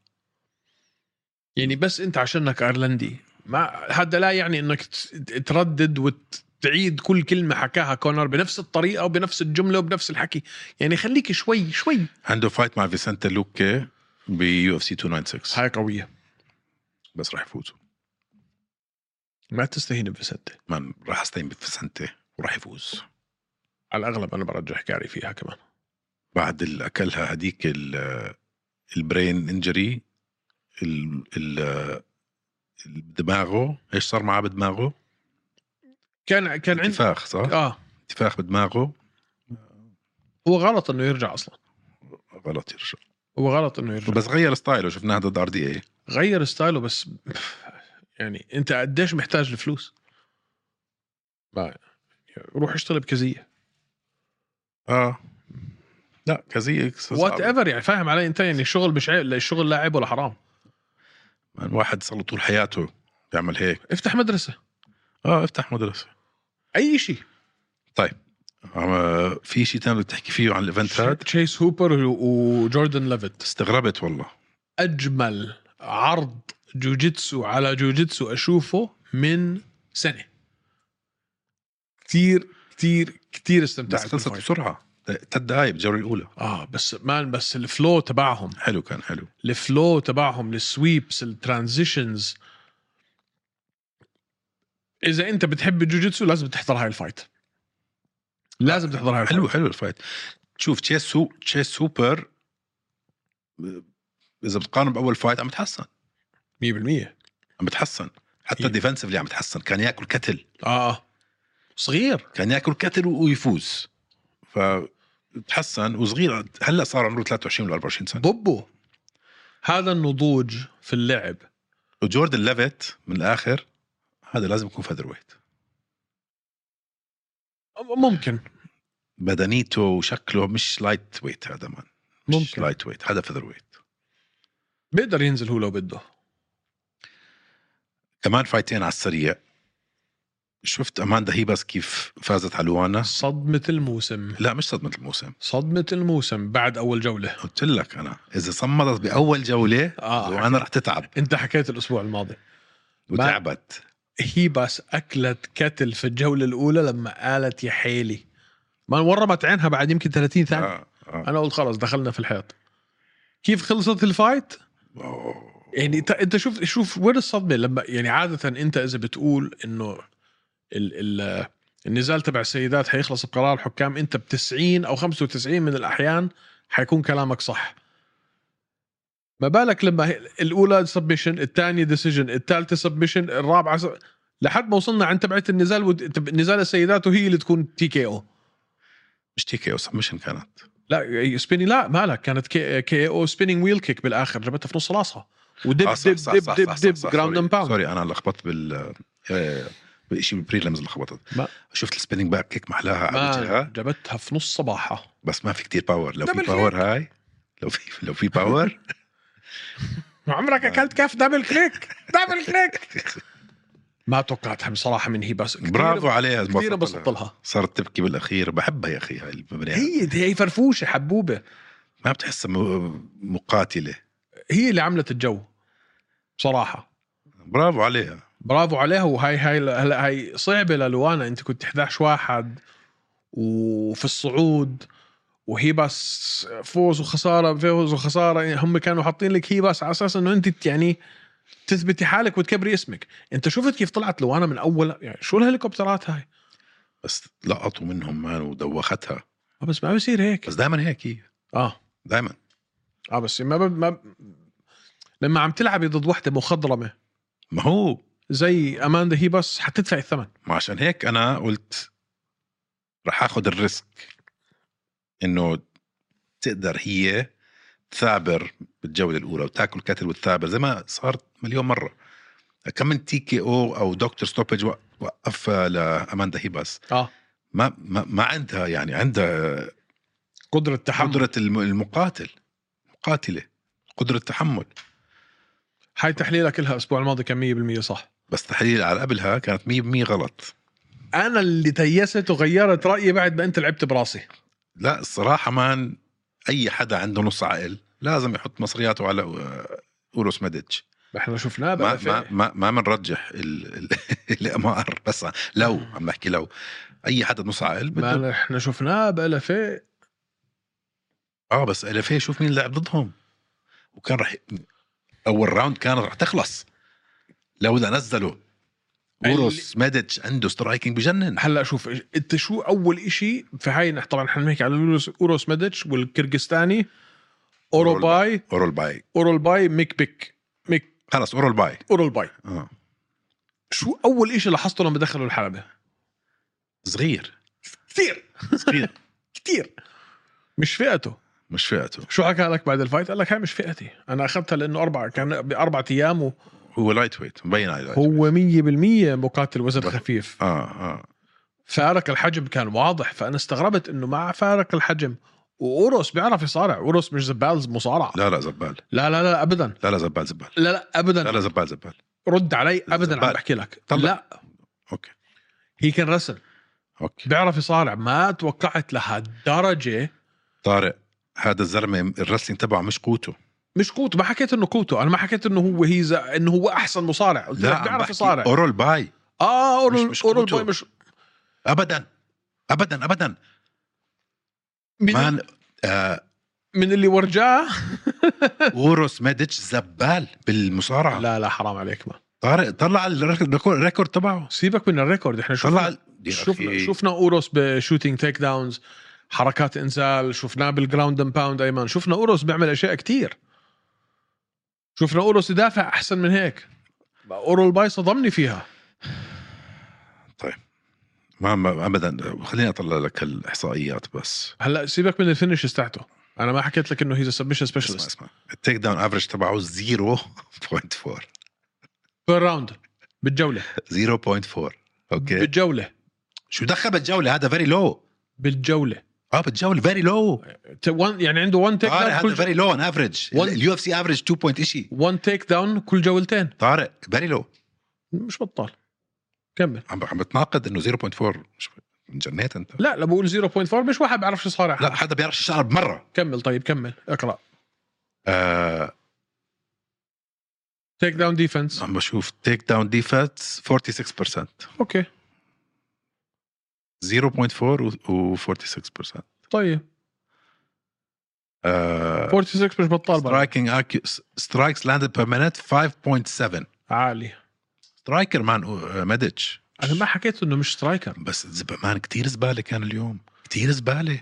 B: يعني بس انت عشانك ايرلندي ما هذا لا يعني انك ت- تردد وتعيد كل كلمه حكاها كونر بنفس الطريقه وبنفس الجمله وبنفس الحكي يعني خليك شوي شوي
A: عنده فايت مع فيسنتا لوكي بيو اف سي 296
B: هاي قويه
A: بس راح يفوزوا
B: ما تستهين بفسدة
A: مان راح استعين بفيسنتا وراح يفوز
B: على الاغلب انا برجح جاري فيها كمان
A: بعد اللي اكلها هديك ال- البرين انجري ال- ال- دماغه ايش صار معاه بدماغه؟
B: كان كان عندي
A: انتفاخ صح؟
B: اه
A: انتفاخ بدماغه
B: هو غلط انه يرجع اصلا
A: غلط يرجع
B: هو غلط انه يرجع
A: بس غير ستايله شفناه ضد ار دي اي
B: غير ستايله بس يعني انت قديش محتاج لفلوس ما روح اشتغل بكزيه
A: اه لا كزيك
B: وات ايفر يعني فاهم علي انت يعني الشغل مش عيب لا الشغل لا عيب ولا حرام
A: الواحد يعني صار له طول حياته بيعمل هيك
B: افتح مدرسه
A: اه افتح مدرسه
B: اي شيء
A: عم- آه، في شيء ثاني بدك تحكي فيه عن الايفنت هاد
B: تشيس هوبر و- وجوردن ليفيت
A: استغربت والله
B: اجمل عرض جوجيتسو على جوجيتسو اشوفه من سنه كثير كثير كثير
A: بس
B: استمتعت
A: خلصت
B: بالفايت.
A: بسرعه ثلاث دقائق بالجوله الاولى
B: اه بس مان بس الفلو تبعهم
A: حلو كان حلو
B: الفلو تبعهم السويبس الترانزيشنز اذا انت بتحب الجوجيتسو لازم تحضر هاي الفايت لازم تحضر هاي الفايت
A: حلو حلو الفايت شوف تشيس سو تشيس سوبر ب- اذا بتقارن باول فايت عم بتحسن
B: 100%
A: عم بتحسن حتى
B: أكيد.
A: ديفنسفلي عم بتحسن كان ياكل كتل
B: اه صغير
A: كان ياكل كتل و- ويفوز ف تحسن وصغير هلا صار عمره 23 ولا 24 سنه
B: بوبو هذا النضوج في اللعب
A: وجوردن ليفيت من الاخر هذا لازم يكون فيذر ويت
B: ممكن
A: بدنيته وشكله مش لايت ويت هذا مان مش
B: ممكن.
A: لايت ويت هذا فيذر ويت
B: بيقدر ينزل هو لو بده
A: كمان فايتين على السريع شفت اماندا هيباس كيف فازت على لوانا
B: صدمة الموسم
A: لا مش صدمه الموسم
B: صدمة الموسم بعد أول جولة
A: قلت لك انا اذا صمدت باول جوله
B: آه
A: وانا رح تتعب
B: أنت حكيت الأسبوع الماضي
A: وتعبت
B: هي بس أكلت كتل في الجولة الأولى لما قالت يا حيلي ما ورمت عينها بعد يمكن 30 ثانية
A: آه. آه.
B: أنا قلت خلص دخلنا في الحيط كيف خلصت الفايت؟
A: أوه.
B: يعني انت انت شوف شوف وين الصدمه لما يعني عاده انت اذا بتقول انه ال ال النزال تبع السيدات حيخلص بقرار حكام انت ب 90 او 95 من الاحيان حيكون كلامك صح ما بالك لما هي- الاولى سبمشن الثانيه ديسيجن الثالثه سبمشن الرابعه سب... لحد ما وصلنا عند تبعت النزال ود... تب- نزال السيدات وهي اللي تكون تي كي او
A: مش تي كي او سبمشن كانت
B: لا سبيني لا مالك كانت كي, كي او سبيننج ويل كيك بالاخر جابتها في نص راسها ودب
A: آه،
B: دب
A: صح،
B: دب
A: صح، صح،
B: دب
A: صح،
B: دب
A: صح،
B: جراوند
A: سوري.
B: اند باوند
A: سوري انا لخبطت بال آه، بشيء بالبريلمز اللي خبطت
B: ما-
A: شفت السبيننج باك كيك محلاها على
B: ما
A: وجهها
B: جابتها في نص صباحها
A: بس ما في كتير باور لو في
B: دبل
A: باور هاي لو في لو في باور
B: [LAUGHS] عمرك اكلت كف دبل كليك دبل كليك ما توقعتها بصراحه من هي بس كتير-
A: برافو عليها
B: كثير
A: انبسطت لها.
B: انبسطت لها
A: صارت تبكي بالاخير بحبها يا اخي هاي البني
B: هي هي فرفوشه حبوبه
A: ما بتحسها م- مقاتله
B: هي اللي عملت الجو بصراحه
A: برافو عليها
B: برافو عليها وهاي هاي هلا هاي صعبه للوانا انت كنت 11 واحد وفي الصعود وهي بس فوز وخساره فوز وخساره يعني هم كانوا حاطين لك هي بس على اساس انه انت يعني تثبتي حالك وتكبري اسمك انت شفت كيف طلعت لوانا من اول يعني شو الهليكوبترات هاي
A: بس لقطوا منهم مان ودوختها
B: آه بس ما بصير هيك
A: بس دائما هيك هي
B: اه
A: دائما
B: اه بس ما, ب... ما ب... لما عم تلعبي ضد وحده مخضرمه
A: ما هو
B: زي اماندا هي بس حتدفع الثمن
A: ما عشان هيك انا قلت رح اخذ الريسك انه تقدر هي تثابر بالجوله الاولى وتاكل كتل وتثابر زي ما صار مليون مره كم من تي كي او او دكتور ستوبج وقف لاماندا هيباس
B: اه
A: ما ما ما عندها يعني عندها
B: قدره تحمل
A: قدره الم- المقاتل مقاتله قدره تحمل
B: هاي تحليلك لها الاسبوع الماضي كان 100% صح
A: بس تحليل على قبلها كانت 100% غلط
B: انا اللي تيست وغيرت رايي بعد ما انت لعبت براسي
A: لا الصراحه مان اي حدا عنده نص عقل لازم يحط مصرياته على آه، اوروس ميديتش
B: احنا شفناه
A: ما
B: بقى
A: ما ما ما بنرجح ال- ال- [LAUGHS] الامار بس لو عم بحكي لو اي حدا نص عقل بده
B: آه. ما احنا شفناه بألفي
A: اه بس الفيه شوف مين لعب ضدهم وكان رح اول راوند كان رح تخلص لولا نزلوا اوروس ميديتش عنده سترايكنج بجنن
B: هلا شوف انت شو اول إشي في هاي نح- طبعا احنا بنحكي على أوروس- اوروس ميديتش والكرغستاني اوروباي
A: اورال باي
B: اورولباي ميك بيك ميك
A: خلص اورال باي
B: اورولباي
A: اه
B: شو اول إشي لاحظته لما دخلوا الحلبه [LAUGHS]
A: صغير
B: كثير
A: صغير
B: كثير مش فئته
A: مش فئته
B: شو حكى لك بعد الفايت قال لك هاي مش فئتي انا اخذتها لانه اربع كان باربع ايام
A: هو لايت ويت مبين عليه لايت ويت.
B: هو 100% مقاتل وزن
A: بس-
B: خفيف
A: اه اه
B: فارق الحجم كان واضح فانا استغربت انه مع فارق الحجم وقرص بيعرف يصارع قرص مش زبال مصارعه
A: لا لا زبال
B: لا لا لا ابدا
A: لا لا زبال زبال
B: لا لا ابدا
A: لا لا زبال زبال
B: رد علي ابدا عم
A: زبال.
B: بحكي لك
A: طلع.
B: لا
A: اوكي
B: هي كان رسل
A: اوكي
B: بيعرف يصارع ما توقعت لهالدرجه
A: طارق هذا الزلمه الرسلينج تبعه مش قوته
B: مش قوته ما حكيت انه قوته انا ما حكيت انه هو هي ز- انه هو احسن مصارع قلت لك
A: عم
B: بيعرف
A: بحكي
B: يصارع
A: اورال باي
B: اه اورال
A: مش- مش
B: اورال
A: قوته.
B: بوي مش
A: ابدا ابدا ابدا
B: من
A: مان آه
B: من اللي ورجاه
A: اوروس ميديتش زبال بالمصارعه
B: لا لا حرام عليك ما
A: طارق طلع الريك- الريكورد تبعه
B: سيبك من الريكورد احنا
A: طلع
B: شفنا
A: ال- يا
B: شفنا
A: أخي.
B: شفنا اوروس بشوتينج تيك داونز حركات انزال شفناه بالجراوند اند باوند ايمن شفنا اوروس بيعمل اشياء كتير شفنا اوروس يدافع احسن من هيك اورال باي صدمني فيها
A: ما ما- ابدا خليني اطلع لك الاحصائيات بس
B: هلا سيبك من الفينش تاعته انا ما حكيت لك انه هيز سبمشن
A: اسمع
B: سبيشالست
A: اسمع التيك داون افريج تبعه [LAUGHS] 0.4
B: بير راوند بالجوله
A: 0.4 اوكي
B: بالجوله
A: شو دخل بالجوله هذا فيري لو
B: بالجوله
A: اه بالجوله فيري لو
B: ت- one- يعني عنده 1 تيك
A: طارق
B: داون
A: هذا
B: كل
A: فيري لو ان افريج
B: وال-
A: اليو اف سي افريج 2 بوينت شيء
B: 1 تيك داون كل جولتين
A: طارق فيري لو
B: مش بطال كمل
A: عم عم بتناقض انه 0.4 شو- جنيت انت
B: لا لا بقول 0.4 مش واحد بيعرف شو صار
A: لا حدا بيعرف شو صار بمره
B: كمل طيب كمل اقرا
A: آه
B: تيك داون ديفنس
A: عم بشوف تيك داون ديفنس 46%
B: اوكي
A: 0.4 و 46%
B: طيب
A: آه
B: 46 مش بطال بعد.
A: سترايكينج سترايكس لاندد بير مينت 5.7
B: عالي
A: سترايكر مان آه، ميديتش
B: انا ما حكيت انه مش سترايكر
A: بس زب- مان كثير زباله كان اليوم كثير زباله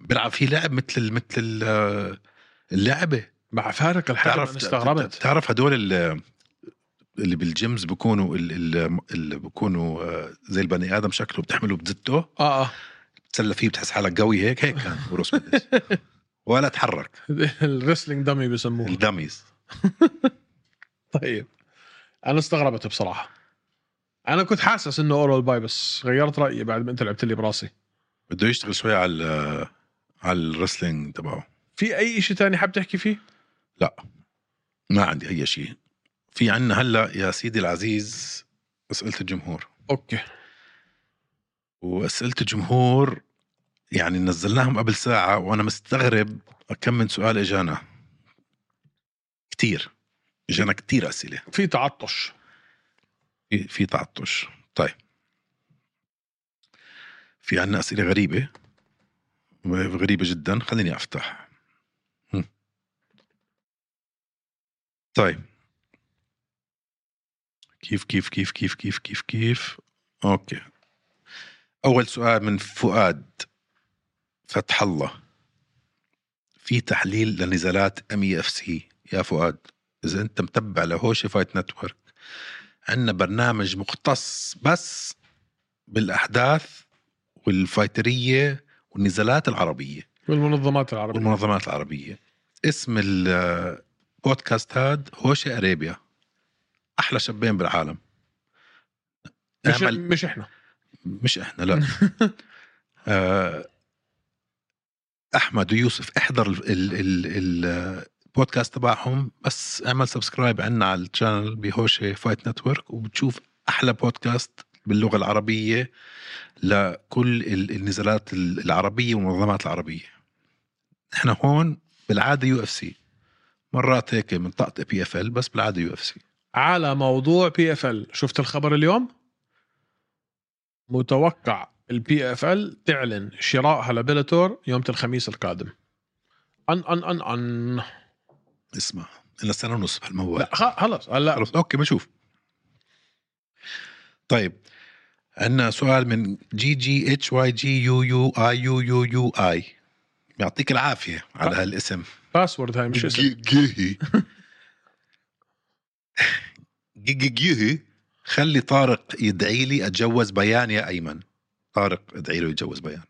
A: عم بيلعب في لعب مثل ال- مثل ال- آه، اللعبه
B: مع فارق الحجم انا استغربت
A: تعرف هدول ال- اللي بالجيمز بيكونوا ال- ال- اللي بيكونوا آه، زي البني ادم شكله بتحمله بزته
B: اه [LAUGHS] اه
A: بتسلى فيه بتحس حالك قوي هيك هيك كان بروس ميديتش. ولا تحرك
B: الريسلينج دمي بسموه
A: الدميز
B: طيب انا استغربت بصراحه انا كنت حاسس انه اورال باي بس غيرت رايي بعد ما انت لعبت لي براسي
A: بده يشتغل شوي على ال- على الرسلينج تبعه
B: في اي شيء تاني حاب تحكي فيه
A: ما عندي اي شيء في عنا هلا يا سيدي العزيز اسئله الجمهور
B: اوكي
A: واسئله الجمهور يعني نزلناهم قبل ساعه وانا مستغرب كم من سؤال اجانا كتير اجانا كتير اسئله
B: في تعطش
A: في- في تعطش طيب في عنا أسئلة غريبة غريبة جدا خليني أفتح هم. طيب كيف كيف كيف كيف كيف كيف كيف أوكي أول سؤال من فؤاد فتح الله في تحليل لنزالات ام اف سي يا فؤاد اذا انت متبع لهوشي فايت نتورك عندنا برنامج مختص بس بالاحداث والفايتريه والنزالات العربيه
B: بالمنظمات العربيه
A: والمنظمات العربيه اسم البودكاست هاد هوشي اريبيا احلى شابين بالعالم
B: مش,
A: اعمل
B: مش احنا
A: مش احنا [LAUGHS] لا آه، احمد ويوسف احضر ال- ال- ال- البودكاست تبعهم بس اعمل سبسكرايب عنا على الشانل بهوشه فايت نتورك وبتشوف احلى بودكاست باللغه العربيه لكل ال- النزالات ال- العربيه والمنظمات العربيه احنا هون بالعاده يو اف سي مرات هيك من طاقه بي اف ال بس بالعاده يو اف سي
B: على موضوع بي اف ال شفت الخبر اليوم متوقع البي اف ال تعلن شرائها لبيلاتور يوم الخميس القادم ان ان ان ان
A: اسمع انا سنه ونص بهالموال
B: لا خ- خلص هلا
A: خلص اوكي بشوف طيب عندنا سؤال من جي جي اتش واي جي يو يو اي يو يو يو اي يعطيك العافيه على هالاسم
B: باسورد هاي آه. مش اسم
A: جيهي [LAUGHS] جيهي خلي طارق يدعي لي اتجوز بيان يا ايمن طارق ادعي له يتجوز بيان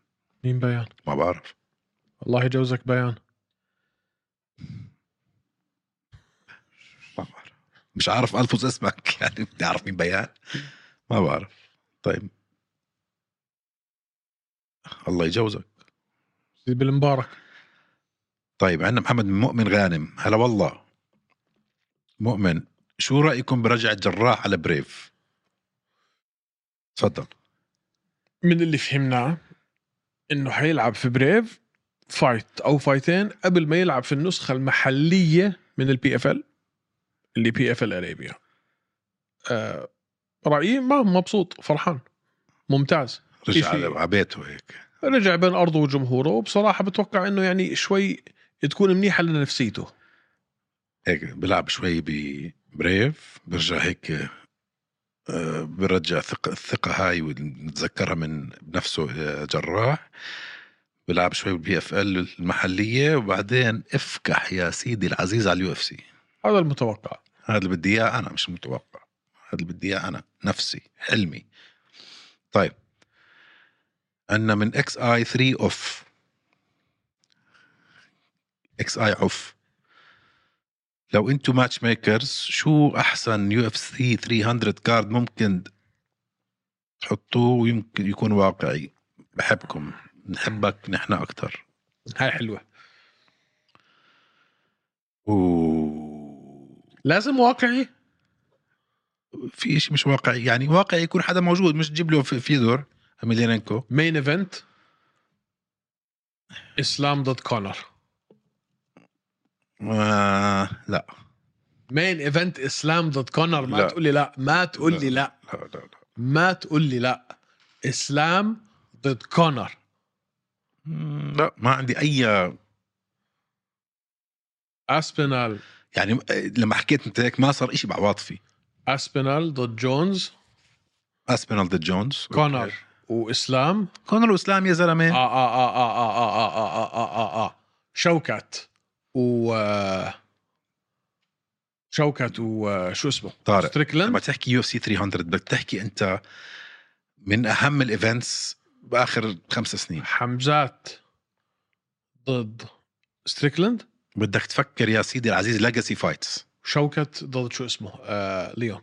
B: مين بيان
A: ما بعرف
B: الله يجوزك بيان
A: ما بعرف مش عارف الفظ اسمك [LAUGHS] يعني بتعرف مين بيان ما بعرف طيب الله يجوزك
B: سيب المبارك
A: طيب عندنا محمد من مؤمن غانم هلا والله مؤمن شو رايكم برجع الجراح على بريف تفضل
B: من اللي فهمناه انه حيلعب في بريف فايت او فايتين قبل ما يلعب في النسخه المحليه من البي اف ال اللي بي اف ال اريبيا آه رايي ما مبسوط فرحان ممتاز إيش
A: رجع
B: في؟
A: على بيته هيك
B: رجع بين ارضه وجمهوره وبصراحه بتوقع انه يعني شوي تكون منيحه لنفسيته
A: هيك بلعب شوي ببريف برجع هيك آه، برجع ثق الثقة هاي ونتذكرها من بنفسه آه، جراح بلعب شوي بالبي اف ال المحلية وبعدين افكح يا سيدي العزيز على اليو اف سي
B: هذا المتوقع
A: هذا اللي بدي اياه انا مش متوقع هذا اللي بدي اياه انا نفسي حلمي طيب عندنا من اكس اي 3 اوف اكس اي اوف لو انتم ماتش ميكرز شو احسن يو اف سي 300 كارد ممكن تحطوه ويمكن يكون واقعي بحبكم نحبك نحن اكثر
B: هاي حلوه
A: و
B: لازم واقعي
A: في شيء مش واقعي يعني واقعي يكون حدا موجود مش تجيب له في- فيدور ميليانينكو
B: مين ايفنت اسلام ضد كونر
A: آه لا
B: مين ايفنت اسلام ضد كونر ما
A: لا.
B: تقول لي لا ما تقول لي لا
A: لا لا لا
B: ما تقول لي لا اسلام ضد كونر
A: مم، لا ما عندي اي
B: اسبينال
A: يعني لما حكيت انت هيك ما صار إشي بعواطفي
B: اسبينال ضد جونز
A: اسبينال ضد جونز
B: كونر
A: أوكي.
B: واسلام
A: كونر واسلام يا
B: آه
A: زلمه
B: آه آه آه آه آه آه آه آه آه آه آه شوكت و آه، شوكت وشو uh, اسمه
A: طارق
B: ستريكلاند
A: لما تحكي يو اف سي 300 بدك تحكي انت من اهم الايفنتس باخر خمس سنين
B: حمزات ضد ستريكلاند
A: بدك تفكر يا سيدي العزيز ليجاسي فايتس
B: شوكت ضد شو اسمه آه ليون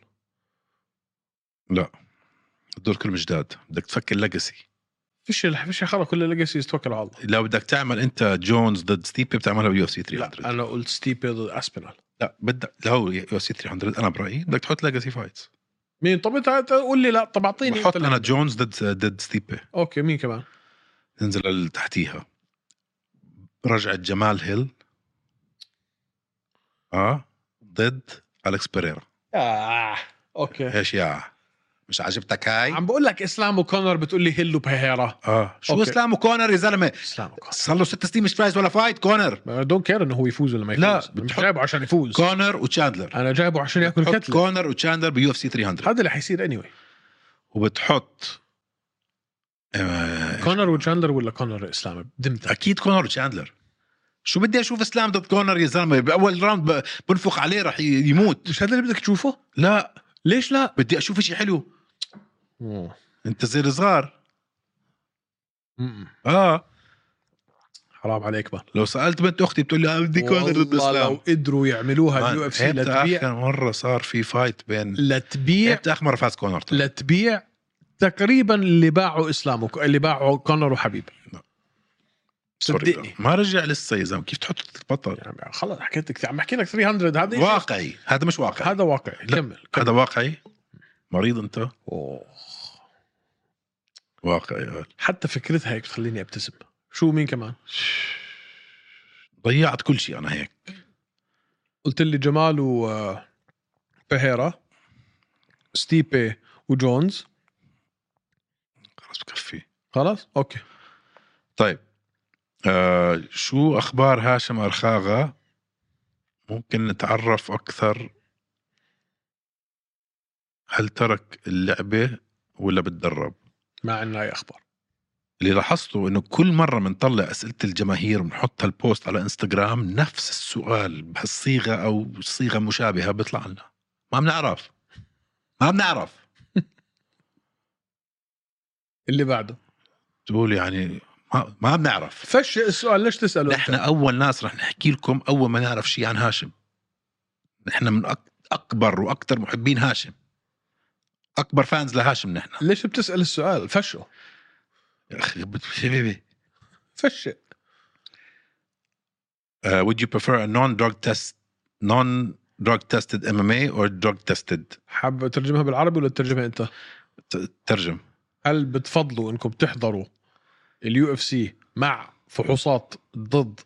A: لا دول كلهم جداد بدك تفكر ليجاسي
B: فيش فيش خلق كل ليجاسيز توكل على الله
A: لو بدك تعمل انت جونز ضد ستيبي بتعملها باليو اف سي 300
B: لا انا قلت ستيبي ضد اسبينال
A: لا بدك لو يو اف سي 300 انا برايي بدك تحط ليجاسي فايتس
B: مين طب انت قول لي لا طب اعطيني
A: حط
B: أنت
A: انا
B: اللعبة.
A: جونز ضد ضد ستيبي
B: اوكي مين كمان
A: تنزل اللي تحتيها رجعت جمال هيل اه ضد الكس بيريرا
B: آه. اوكي
A: ايش يا مش عجبتك هاي؟
B: عم بقول لك اسلام وكونر بتقول لي هيل وبهيرا
A: اه شو
B: أوكي.
A: اسلام وكونر يا زلمه؟
B: اسلام وكونر
A: صار له ست سنين مش فايز ولا فايت كونر
B: دونت كير انه هو يفوز ولا ما يفوز
A: لا،
B: أنا مش
A: بتحط-
B: جايبه عشان يفوز
A: كونر وتشاندلر
B: انا جايبه عشان ياكل
A: بتحط
B: كتله
A: كونر وتشاندلر بيو اف سي 300
B: هذا اللي حيصير اني anyway.
A: وبتحط آه،
B: كونر وجاندلر ولا كونر اسلام دمتك
A: اكيد كونر وتشاندلر شو بدي اشوف اسلام ضد كونر يا زلمه باول راوند ب- بنفخ عليه رح ي- يموت
B: مش هذا اللي بدك تشوفه
A: لا
B: ليش لا
A: بدي اشوف شيء حلو انت زير صغار
B: مم.
A: اه
B: حرام عليك بقى
A: لو سالت بنت اختي بتقول لي آه، بدي كونر ضد
B: والله لو
A: اسلام
B: قدروا يعملوها اليو
A: آه،
B: اف سي
A: إمتى
B: لتبيع
A: اخر مره صار في فايت بين
B: لتبيع
A: امتى اخر مره فاز كونر طيب؟
B: لتبيع تقريبا اللي باعوا اسلام وك- اللي باعوا كونر وحبيب
A: لا. سوري،
B: صدقني
A: ما رجع لسه يا زلمه كيف تحط البطل
B: يعني خلص حكيت لك عم بحكي لك 300 هذا إشي-
A: واقعي هذا مش واقعي
B: هذا واقعي
A: لا.
B: كمل كمل
A: هذا واقعي مريض انت
B: أوه.
A: واقعي آه.
B: حتى فكرتها هيك بتخليني ابتسم شو مين كمان
A: ضيعت كل شيء انا هيك
B: قلت لي جمال آه، وبهيرا ستيبي وجونز
A: خلص بكفي
B: خلاص اوكي
A: طيب آه شو اخبار هاشم ارخاغا ممكن نتعرف اكثر هل ترك اللعبه ولا بتدرب
B: ما عندنا اي اخبار
A: اللي لاحظته انه كل مره بنطلع اسئله الجماهير بنحط هالبوست على انستغرام نفس السؤال بهالصيغه او صيغه مشابهه بيطلع لنا ما بنعرف ما بنعرف
B: اللي بعده
A: تقول يعني ما, ما بنعرف
B: فش السؤال ليش تساله
A: نحن اول ناس رح نحكي لكم اول ما نعرف شيء عن هاشم نحن من أك... اكبر واكثر محبين هاشم اكبر فانز لهاشم نحن
B: ليش بتسال السؤال فشو
A: يا اخي شبيبي
B: فش
A: Uh, would you prefer a non-drug test, non-drug tested MMA or drug tested?
B: حابب ترجمها بالعربي ولا تترجمها انت
A: ت- ترجم.
B: هل بتفضلوا انكم تحضروا اليو اف سي مع فحوصات ضد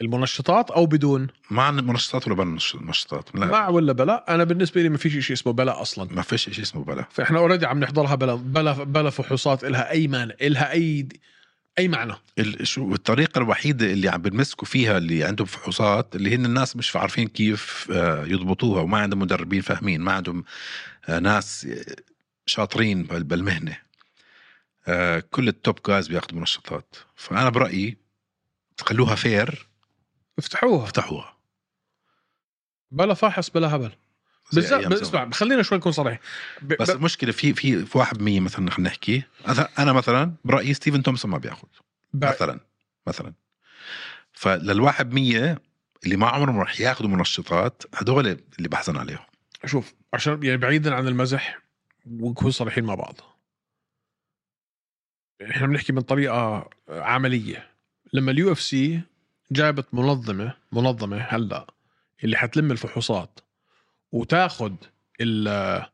B: المنشطات او بدون
A: مع منشطات ولا بلا منشطات؟ لا
B: مع ولا بلا انا بالنسبه لي ما فيش شيء اسمه بلا اصلا
A: ما فيش شيء اسمه بلا.
B: فاحنا اوريدي عم نحضرها بلا بلا بلا فحوصات إلها اي مانع إلها اي اي معنى
A: ال- شو الطريقة الوحيدة اللي عم بنمسكوا فيها اللي عندهم فحوصات اللي هن الناس مش عارفين كيف آه، يضبطوها وما عندهم مدربين فاهمين، ما عندهم آه، ناس آه، شاطرين بال- بالمهنة. آه، كل التوب جايز بياخذوا منشطات، فأنا برأيي تخلوها فير
B: افتحوها
A: افتحوها.
B: بلا فاحص بلا هبل
A: زي أيام
B: بالذات
A: زمان.
B: اسمع خلينا شوي نكون صريح ب...
A: بس
B: ب...
A: المشكله في في في واحد مية مثلا خلينا نحكي أنا- انا مثلا برايي ستيفن تومسون ما بياخذ
B: ب...
A: مثلا مثلا فللواحد مية اللي ما عمرهم رح ياخذوا منشطات هدول اللي بحزن عليهم
B: شوف عشان يعني بعيدا عن المزح ونكون صريحين مع بعض احنا بنحكي من طريقه عمليه لما اليو اف سي جابت منظمه منظمه هلا اللي حتلم الفحوصات وتاخد ال-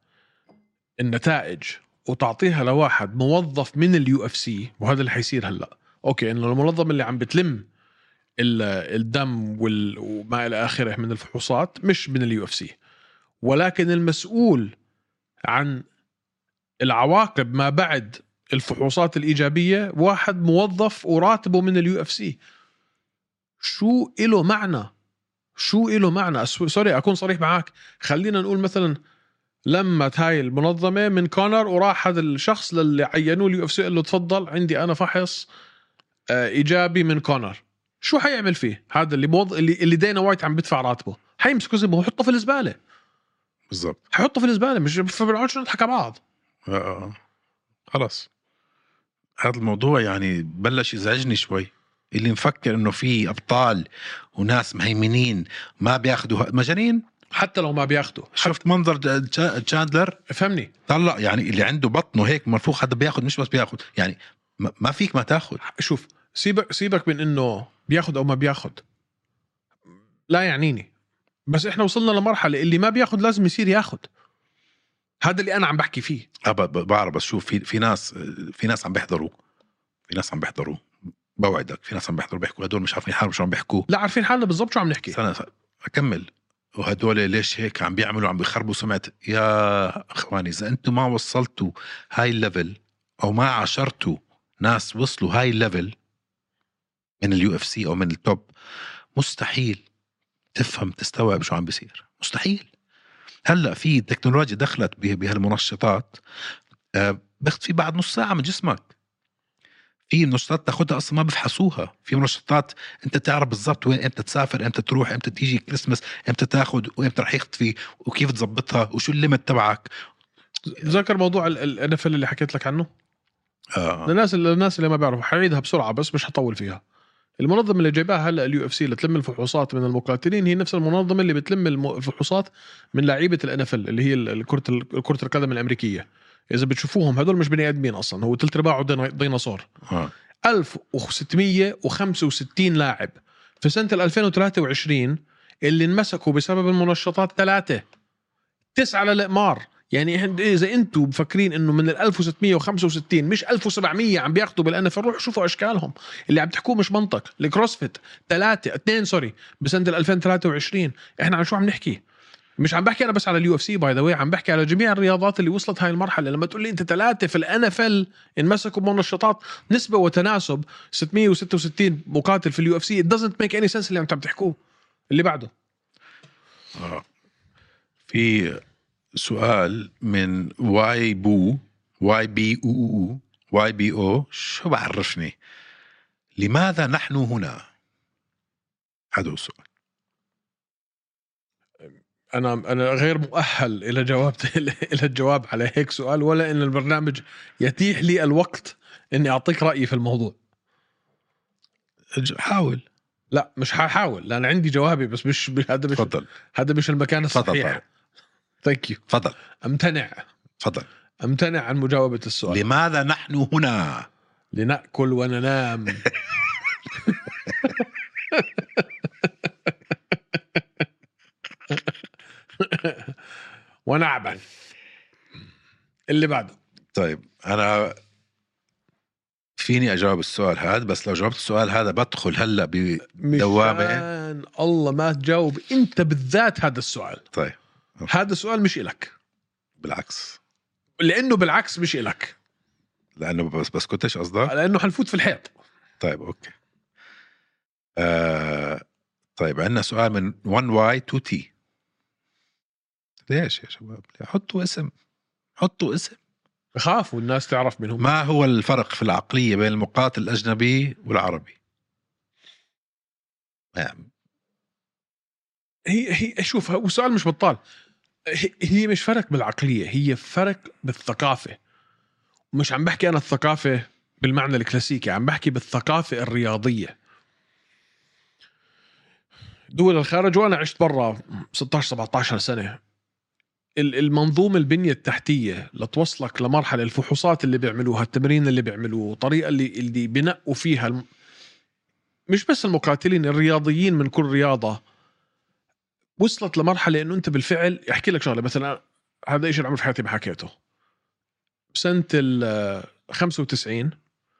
B: النتائج وتعطيها لواحد موظف من اليو اف سي وهذا اللي حيصير هلا اوكي انه المنظمه اللي عم بتلم ال- الدم وال- وما الى اخره من الفحوصات مش من اليو اف سي ولكن المسؤول عن العواقب ما بعد الفحوصات الايجابيه واحد موظف وراتبه من اليو اف سي شو إله معنى شو إله معنى أس- سوري اكون صريح معك خلينا نقول مثلا لما هاي المنظمه من كونر وراح هذا الشخص للي عينوه اليو اف سي قال له تفضل عندي انا فحص آه، ايجابي من كونر شو حيعمل فيه هذا اللي موظ... اللي اللي دينا وايت عم بدفع راتبه حيمسكه زي ما هو يحطه في الزباله
A: بالضبط
B: حيحطه في الزباله مش فبنقعدش نضحك على بعض
A: آه، آه. خلص هذا الموضوع يعني بلش يزعجني شوي اللي مفكر انه في ابطال وناس مهيمنين ما بياخذوا مجانين
B: حتى لو ما بياخده
A: شفت منظر جا- جا- تشاندلر
B: افهمني
A: طلع يعني اللي عنده بطنه هيك منفوخ هذا بياخد مش بس بياخد يعني ما ما فيك ما تاخد
B: شوف سيبك سيبك من انه بياخد او ما بياخد لا يعنيني بس احنا وصلنا لمرحله اللي ما بياخد لازم يصير ياخد هذا اللي انا عم بحكي فيه
A: أه ب- ب- بعرف بس شوف في في ناس في ناس عم بيحضروا في ناس عم بيحضروا بوعدك في ناس عم بيحضروا بيحكوا هدول مش عارفين حالهم شو عم بيحكوا
B: لا عارفين حالنا بالضبط شو عم نحكي
A: استنى س- اكمل وهدول ليش هيك عم بيعملوا عم بيخربوا سمعة يا اخواني اذا انتم ما وصلتوا هاي الليفل او ما عاشرتوا ناس وصلوا هاي الليفل من اليو اف سي او من التوب مستحيل تفهم تستوعب شو عم بيصير مستحيل هلا في تكنولوجيا دخلت به- بهالمنشطات آه، باخذ في بعد نص ساعه من جسمك في منشطات تاخذها اصلا ما بفحصوها في منشطات انت تعرف بالضبط وين امتى تسافر امتى تروح امتى تيجي كريسمس امتى تاخذ وامتى رح يختفي وكيف تظبطها وشو الليمت تبعك
B: تذكر موضوع الان اللي حكيت لك عنه
A: آه.
B: للناس للناس اللي ما بيعرفوا حعيدها بسرعه بس مش هطول فيها المنظمه اللي جايباها هلا اليو اف سي لتلم الفحوصات من المقاتلين هي نفس المنظمه اللي بتلم الم- الفحوصات من لعيبه الان اف اللي هي ال- كره ال- كره القدم الامريكيه اذا بتشوفوهم هدول مش بني ادمين اصلا هو ثلث ارباعه دينا- ديناصور
A: آه.
B: 1665 لاعب في سنه ال 2023 اللي انمسكوا بسبب المنشطات ثلاثه تسعه للاقمار يعني إحنا- اذا انتم مفكرين انه من ال 1665 مش 1700 عم بياخذوا بالان روحوا شوفوا اشكالهم اللي عم تحكوه مش منطق الكروسفيت ثلاثه اثنين سوري بسنه ال 2023 احنا عن شو عم نحكي مش عم بحكي انا بس على اليو اف سي باي ذا عم بحكي على جميع الرياضات اللي وصلت هاي المرحله لما تقول لي انت ثلاثه في الان اف ال انمسكوا بمنشطات نسبه وتناسب 666 مقاتل في اليو اف سي it doesn't make any sense اللي انت عم تحكوه اللي بعده
A: آه. في سؤال من واي بو واي بي او او واي بي او شو بعرفني لماذا نحن هنا هذا هو السؤال
B: انا انا غير مؤهل الى جواب [LAUGHS] الى الجواب على هيك سؤال ولا ان البرنامج يتيح لي الوقت اني اعطيك رايي في الموضوع
A: أج- حاول
B: لا مش ححاول لان عندي جوابي بس مش هذا مش
A: تفضل
B: هذا مش المكان
A: تفضل طيب.
B: الصحيح
A: طارق.
B: ثانك يو
A: تفضل
B: امتنع
A: تفضل
B: امتنع عن مجاوبه السؤال
A: لماذا نحن هنا
B: لناكل وننام ونعبث اللي بعده
A: طيب انا فيني اجاوب السؤال هذا بس لو جاوبت السؤال هذا بدخل هلا ب
B: مشان
A: دوامة.
B: الله ما تجاوب انت بالذات هذا السؤال
A: طيب
B: هذا السؤال مش إلك
A: بالعكس
B: لانه بالعكس مش إلك
A: لانه بس بس كنتش قصدك
B: لانه حنفوت في الحيط
A: طيب اوكي آه طيب عندنا سؤال من 1 واي 2 تي ليش يا شباب حطوا اسم حطوا اسم
B: بخافوا الناس تعرف منهم
A: ما هو الفرق في العقلية بين المقاتل الأجنبي والعربي؟ يعني
B: هي هي شوف هو سؤال مش بطال هي- هي مش فرق بالعقليه هي فرق بالثقافه مش عم بحكي انا الثقافه بالمعنى الكلاسيكي عم بحكي بالثقافه الرياضيه دول الخارج وانا عشت برا 16 17 سنه ال- المنظومه البنيه التحتيه لتوصلك لمرحله الفحوصات اللي بيعملوها التمرين اللي بيعملوه الطريقه اللي اللي بنقوا فيها الم... مش بس المقاتلين الرياضيين من كل رياضه وصلت لمرحله انه انت بالفعل احكي لك شغله مثلا هذا الشيء اللي عمري في حياتي ما حكيته بسنه ال 95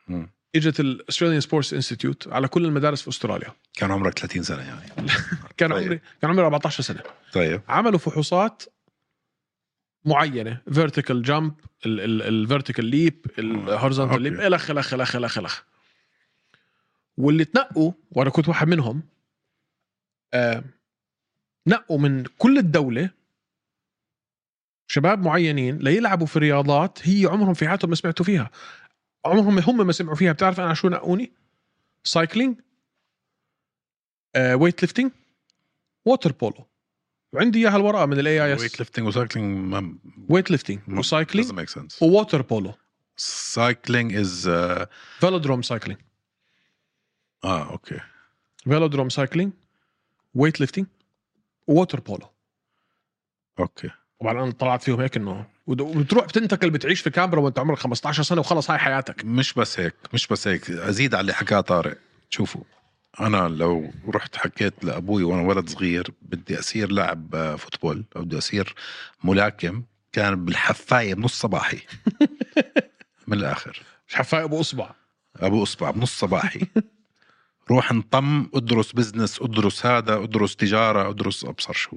A: مم.
B: اجت الاستراليان سبورتس انستيتيوت على كل المدارس في استراليا
A: كان عمرك 30 سنة يعني
B: كان
A: طيب.
B: عمري كان عمري 14 سنه
A: طيب
B: عملوا فحوصات معينه فيرتيكال جامب الفيرتيكال ليب الهورزونتال
A: آه، أوكي.
B: ليب الخ الخ الخ الخ الخ واللي تنقوا وانا كنت واحد منهم آه نقوا من كل الدوله شباب معينين ليلعبوا في رياضات هي عمرهم في حياتهم ما سمعتوا فيها عمرهم هم ما سمعوا فيها بتعرف انا شو نقوني سايكلينج آه ويت ليفتنج ووتر بولو وعندي اياها الورقه من الاي اي
A: ويت
B: اس
A: ليفتنج وسايكلينج ما
B: ويت ليفتنج
A: ما-
B: وسايكلينج
A: doesn't make sense
B: ووتر بولو
A: سايكلينج از اه
B: فيلودروم سايكلينج
A: اوكي
B: فيلودروم سايكلينج ويت ليفتنج ووتر بولو
A: اوكي
B: طبعا انا طلعت فيهم هيك انه ود- وبتروح بتنتقل بتعيش في كامبرا وانت عمرك 15 سنه وخلص هاي حياتك
A: مش بس هيك مش بس هيك ازيد على اللي حكاه طارق شوفوا انا لو رحت حكيت لابوي وانا ولد صغير بدي اصير لاعب آه، فوتبول او بدي اصير ملاكم كان بالحفايه بنص صباحي من الاخر
B: مش حفاية ابو اصبع
A: ابو اصبع بنص صباحي روح انطم ادرس بزنس ادرس هذا ادرس تجاره ادرس ابصر شو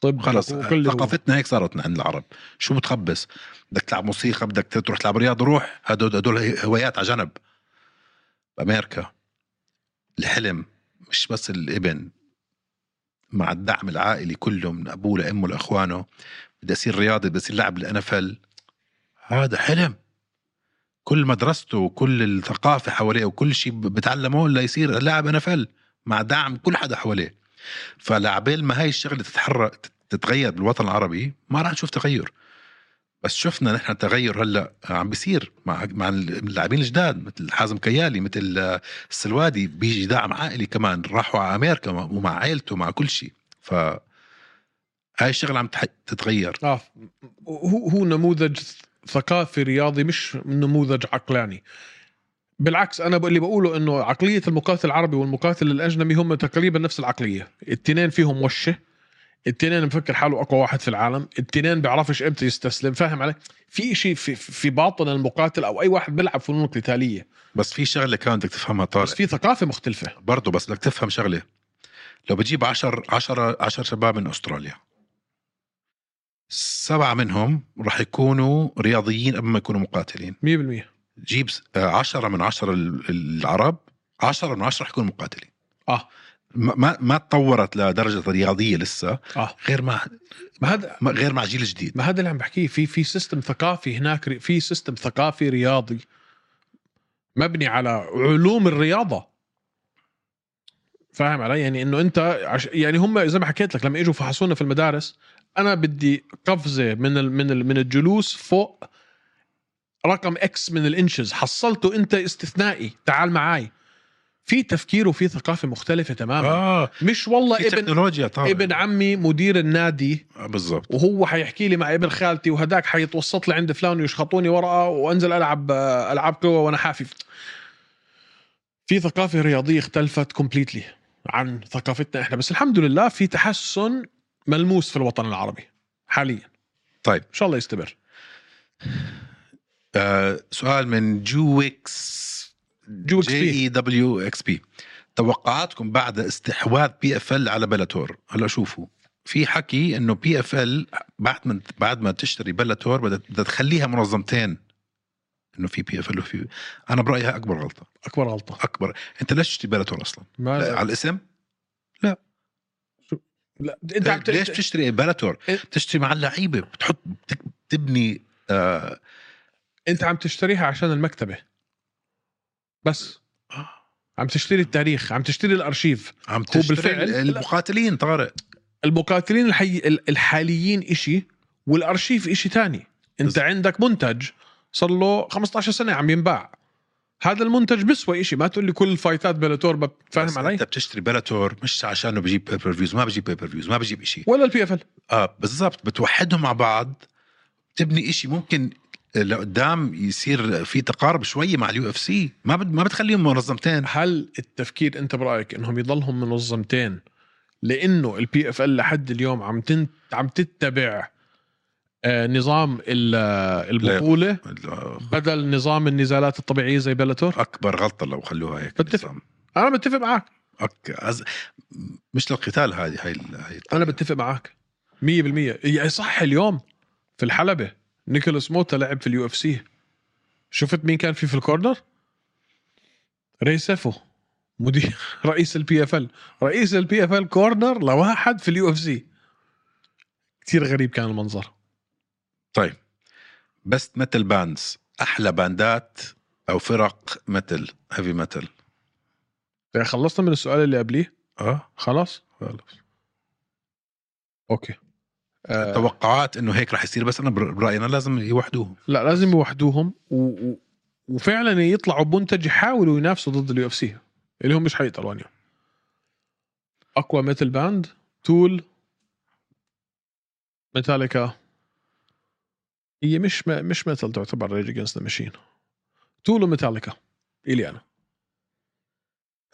B: طب
A: خلص
B: وكل
A: ثقافتنا هيك صارت عند العرب شو بتخبص بدك تلعب موسيقى بدك تروح تلعب رياضه روح هدول هدول هوايات على جنب بامريكا الحلم مش بس الابن مع الدعم العائلي كله من ابوه لامه لاخوانه بدي اصير رياضي بدي اصير لاعب الان هذا حلم كل مدرسته وكل الثقافه حواليه وكل شيء بتعلمه ليصير لاعب ان مع دعم كل حدا حواليه فلعبال ما هاي الشغله تتحرك تتغير بالوطن العربي ما راح نشوف تغير بس شفنا نحن التغير هلا عم بيصير مع مع اللاعبين الجداد مثل حازم كيالي مثل السلوادي بيجي دعم عائلي كمان راحوا على امريكا ومع عائلته مع كل شيء ف هاي الشغله عم تح- تتغير
B: اه هو هو نموذج ثقافي رياضي مش نموذج عقلاني بالعكس انا اللي بقوله انه عقليه المقاتل العربي والمقاتل الاجنبي هم تقريبا نفس العقليه التنين فيهم وشه التنين مفكر حاله اقوى واحد في العالم التنين بيعرفش امتى يستسلم فاهم علي في شيء في, في باطن المقاتل او اي واحد بيلعب فنون قتاليه
A: بس في شغله كمان بدك تفهمها
B: بس
A: طارق
B: في ثقافه مختلفه
A: برضه بس بدك تفهم شغله لو بتجيب 10 10 10 شباب من استراليا سبعه منهم راح يكونوا رياضيين قبل ما يكونوا مقاتلين
B: 100%
A: جيب 10 من 10 العرب 10 من 10 رح يكونوا مقاتلين
B: اه
A: ما ما- ما تطورت لدرجه رياضيه لسه
B: اه
A: غير مع
B: ما هذا
A: ما- غير مع جيل جديد
B: ما هذا اللي عم بحكيه في في سيستم ثقافي هناك ري- في سيستم ثقافي رياضي مبني على علوم الرياضه فاهم علي يعني انه انت عش... يعني هم زي ما حكيت لك لما اجوا فحصونا في المدارس انا بدي قفزه من ال... من ال... من الجلوس فوق رقم اكس من الانشز حصلته انت استثنائي تعال معي في تفكير وفي ثقافه مختلفه تماما آه.
A: اه
B: مش والله
A: في
B: ابن
A: تكنولوجيا طبعا
B: ابن عمي مدير النادي
A: آه، بالضبط
B: وهو حيحكي لي مع ابن خالتي وهداك حيتوسط لي عند فلان ويشخطوني ورقه وانزل العب العب قوه وانا حافف في ثقافه رياضيه اختلفت كومبليتلي عن ثقافتنا احنا بس الحمد لله في تحسن ملموس في الوطن العربي حاليا
A: طيب.
B: ان شاء الله يستمر
A: آه سؤال من E جوكس
B: جوكس
A: جي اي دبليو اكس بي توقعاتكم بعد استحواذ بي اف ال على بلاتور هلا شوفوا في حكي انه بي اف ال بعد ما بعد ما تشتري بلاتور بدها بدها تخليها منظمتين انه في بي اف ال وفي انا برايها اكبر غلطه
B: اكبر غلطه
A: اكبر انت ليش تشتري بلاتور اصلا
B: ما
A: على الاسم
B: لا انت عم ت-
A: ليش بتشتري بلاتور
B: إيه؟
A: بتشتري مع اللعيبه بتحط بتك- بتبني آه
B: انت عم تشتريها عشان المكتبه بس عم تشتري التاريخ عم تشتري الارشيف
A: عم تشتري
B: بالفعل-
A: المقاتلين طارق
B: المقاتلين الحي... ال- الحاليين إشي والارشيف إشي تاني انت
A: بالظبط.
B: عندك منتج صار له 15 سنه عم ينباع هذا المنتج بيسوى إشي ما تقول لي كل فايتات بلاتور
A: بس
B: فاهم علي
A: انت بتشتري بلاتور مش عشانه بجيب بيبر فيوز ما بجيب بيبر فيوز ما بجيب إشي
B: ولا البي اف ال
A: اه بالضبط بتوحدهم مع بعض تبني إشي ممكن لقدام يصير في تقارب شوي مع اليو اف سي ما بد ما بتخليهم منظمتين
B: هل التفكير انت برايك انهم يضلهم منظمتين لانه البي اف ال لحد اليوم عم تنت... عم تتبع آه، نظام ال- آه، البطوله بدل نظام النزالات الطبيعيه زي بلاتور
A: اكبر غلطه لو خلوها هيك
B: بتفق.
A: نظام.
B: انا بتفق معك
A: أك... أز... مش للقتال هذه هاي ال- هاي
B: انا بتفق معك 100% يعني صح اليوم في الحلبه نيكولاس موتا لعب في اليو اف سي شفت مين كان في في الكورنر ري سيفو مدير [LAUGHS] رئيس البي اف ال رئيس البي اف ال كورنر لواحد في اليو اف سي كثير غريب كان المنظر
A: طيب بست متل باندز احلى باندات او فرق متل هيفي متل
B: يعني خلصنا من السؤال اللي قبليه
A: اه
B: خلاص
A: خلص
B: اوكي آه،
A: توقعات انه هيك رح يصير بس انا بر- برايي انا لازم يوحدوهم
B: لا لازم يوحدوهم و... و... وفعلا يطلعوا بمنتج يحاولوا ينافسوا ضد اليو اف سي اللي هم مش يعني. حيقدروا اليوم اقوى ميتال باند تول ميتاليكا هي مش م... مش ميتال تعتبر ريج اجينست ذا ماشين تول وميتاليكا الي انا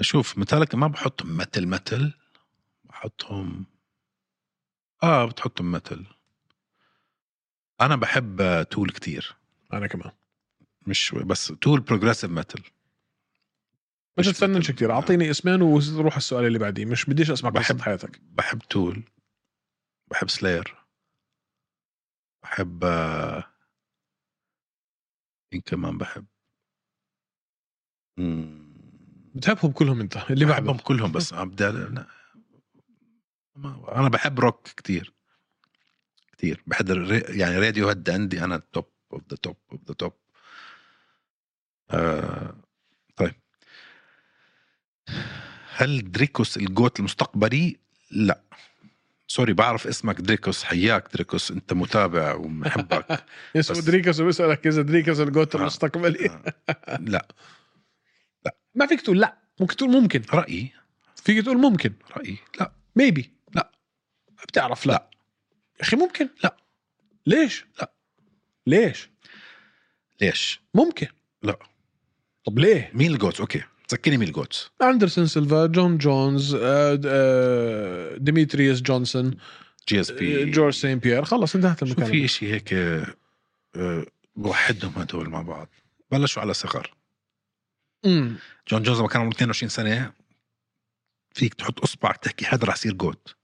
A: شوف متالك ما بحطهم متل متل بحطهم اه بتحطهم متل انا بحب آه، تول كتير
B: انا كمان
A: مش بس تول بروجريسيف متل
B: مش
A: مش
B: تفننش
A: ميتال.
B: كتير اعطيني اسمين وروح السؤال اللي بعديه مش بديش اسمع قصه
A: بحب-
B: حياتك
A: بحب تول بحب سلاير بحب آه، مين كمان بحب مم.
B: بتحبهم كلهم انت اللي
A: بحبهم
B: بعدهم
A: كلهم بس عم بدي أنا- ما- انا بحب روك كتير كتير بحب الري- يعني راديو هيد عندي انا توب اوف ذا توب اوف ذا توب طيب هل دريكوس الجوت المستقبلي؟ لا سوري بعرف اسمك دريكوس حياك دريكوس انت متابع ومحبك
B: اسمه
A: بس-
B: دريكس وبسالك اذا دريكس الجوت
A: آه.
B: المستقبلي
A: آه، لا
B: ما فيك تقول لا ممكن تقول ممكن
A: رأيي
B: فيك تقول ممكن
A: رأيي لا
B: ميبي
A: لا.
B: ما بتعرف لا,
A: لا.
B: يا اخي ممكن
A: لا.
B: ليش
A: لا.
B: ليش
A: ليش؟
B: ممكن
A: لا.
B: طب ليه
A: مين الجوتس؟ اوكي تذكرني مين الجوتس؟
B: اندرسون سيلفا جون جونز آه، آه، ديميتريوس جونسون
A: جي اس
B: آه،
A: بي
B: جورج سين بيير خلص انتهت
A: شو
B: المكان
A: في شيء هيك آه، بوحدهم هدول مع بعض بلشوا على صغر
B: أمم.
A: جون جونز لما كان عمره 22 سنه فيك تحط اصبعك تحكي هذا رح يصير جوت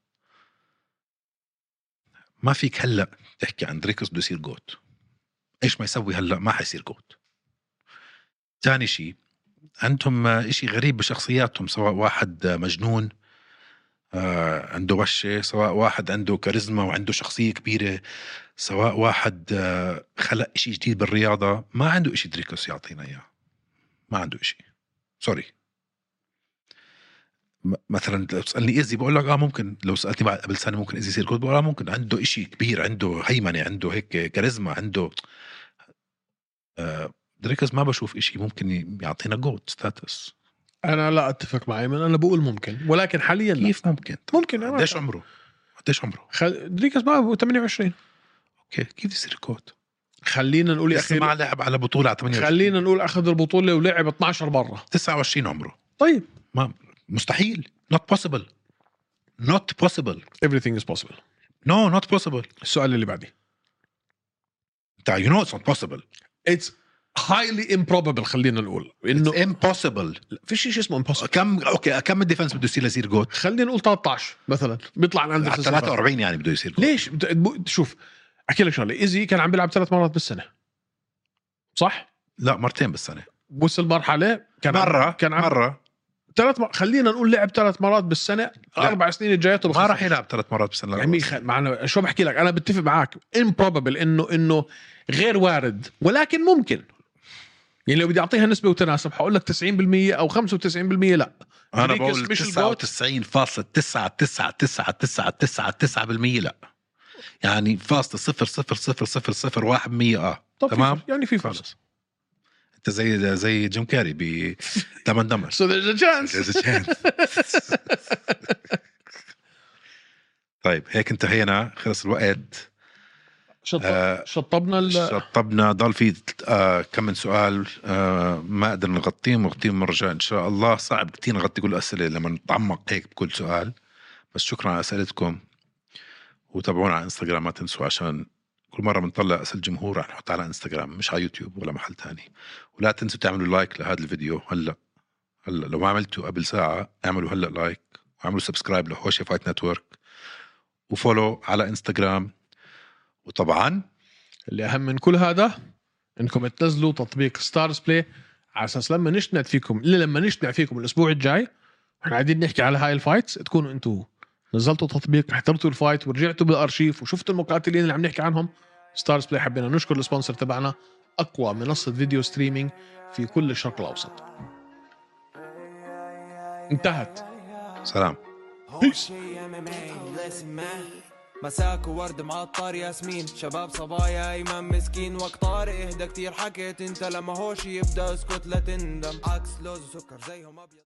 A: ما فيك هلا تحكي عن دريكس بده يصير جوت ايش ما يسوي هلا ما حيصير جوت ثاني شيء عندهم إشي غريب بشخصياتهم سواء واحد آه، مجنون آه، عنده وشة سواء واحد عنده كاريزما وعنده شخصية كبيرة سواء واحد آه، خلق إشي جديد بالرياضة ما عنده إشي دريكوس يعطينا إياه ما عنده إشي سوري م- مثلا لو تسالني ايزي بقول لك اه ممكن لو سالتني بعد قبل سنه ممكن ايزي يصير كود بقول اه ممكن عنده إشي كبير عنده هيمنه عنده هيك كاريزما عنده آه دريكس ما بشوف إشي ممكن ي- يعطينا جولد ستاتس
B: انا لا اتفق مع ايمن انا بقول ممكن ولكن حاليا لا
A: كيف ممكن؟ طيب.
B: ممكن آه، انا
A: قديش عمره؟ قديش عمره؟
B: خل... دريكس ما 28
A: اوكي كيف يصير كوت؟
B: خلينا نقول يا
A: لسه
B: اخي
A: ما لعب على بطوله على 28
B: خلينا نقول اخذ البطوله ولعب 12 مره
A: 29 عمره
B: طيب
A: ما مستحيل نوت بوسيبل نوت بوسيبل
B: everything is possible
A: نو نوت بوسيبل
B: السؤال اللي بعدي
A: انت يو نو اتس نوت بوسيبل
B: اتس highly improbable خلينا نقول انه
A: امبوسيبل
B: فيش شيء اسمه impossible
A: كم اوكي كم الديفنس بده يصير ليصير جوت؟
B: خلينا نقول 13 مثلا بيطلع عن
A: على
B: اندرسون
A: 43 يعني بده يصير جوت
B: ليش بت- بو- شوف احكي لك شغله ايزي كان عم بيلعب ثلاث مرات بالسنه صح
A: لا مرتين يعني. بالسنه
B: وصل مرحله كان عم-
A: مره
B: كان عم
A: مره
B: ثلاث مر... خلينا نقول لعب ثلاث مرات بالسنه اربع سنين الجايات
A: ما راح يلعب ثلاث مرات بالسنه
B: يعني مين خل... معنا شو بحكي لك انا بتفق معك امبروبل انه انه غير وارد ولكن ممكن يعني لو بدي اعطيها نسبه وتناسب حقول لك 90% او 95% لا
A: انا
B: دريكس
A: بقول
B: مش الجوت.
A: 99.9999999% لا يعني فاصلة صفر صفر صفر صفر صفر واحد مية اه
B: طب
A: تمام.
B: في... يعني في
A: خلص.
B: فرص
A: انت زي زي جيم كاري ب تمن دمر
B: سو ذيرز ا تشانس
A: There's a
B: [LAUGHS]
A: chance. طيب هيك انتهينا خلص الوقت آه،
B: شطبنا ال...
A: شطبنا ضل في آه كم من سؤال آه ما قدرنا نغطيهم نغطيهم مرة الجاية ان شاء الله صعب كتير نغطي كل الاسئله لما نتعمق هيك بكل سؤال بس شكرا على اسئلتكم وتابعونا على انستغرام ما تنسوا عشان كل مره بنطلع اسئله الجمهور رح نحطها على انستغرام مش على يوتيوب ولا محل تاني ولا تنسوا تعملوا لايك لهذا الفيديو هلا هلا لو ما عملتوا قبل ساعه اعملوا هلا لايك واعملوا سبسكرايب لهوشي فايت نتورك وفولو على انستغرام وطبعا
B: اللي اهم من كل هذا انكم تنزلوا تطبيق ستارز بلاي على اساس لما نشنع فيكم الا لما نشنع فيكم الاسبوع الجاي احنا قاعدين نحكي على هاي الفايتس تكونوا انتم نزلتوا تطبيق حضرتوا الفايت ورجعتوا بالارشيف وشفتوا المقاتلين اللي عم نحكي عنهم ستارز بلاي حبينا نشكر السبونسر تبعنا اقوى منصه فيديو ستريمينج في كل الشرق الاوسط انتهت
A: سلام
C: هوشي ام ام لسن مان مساك وورد معطر ياسمين شباب صبايا ايمن مسكين وقت طارق اهدى كتير حكيت انت لما هوشي يبدا اسكت لا تندم عكس لوز وسكر زيهم ابيض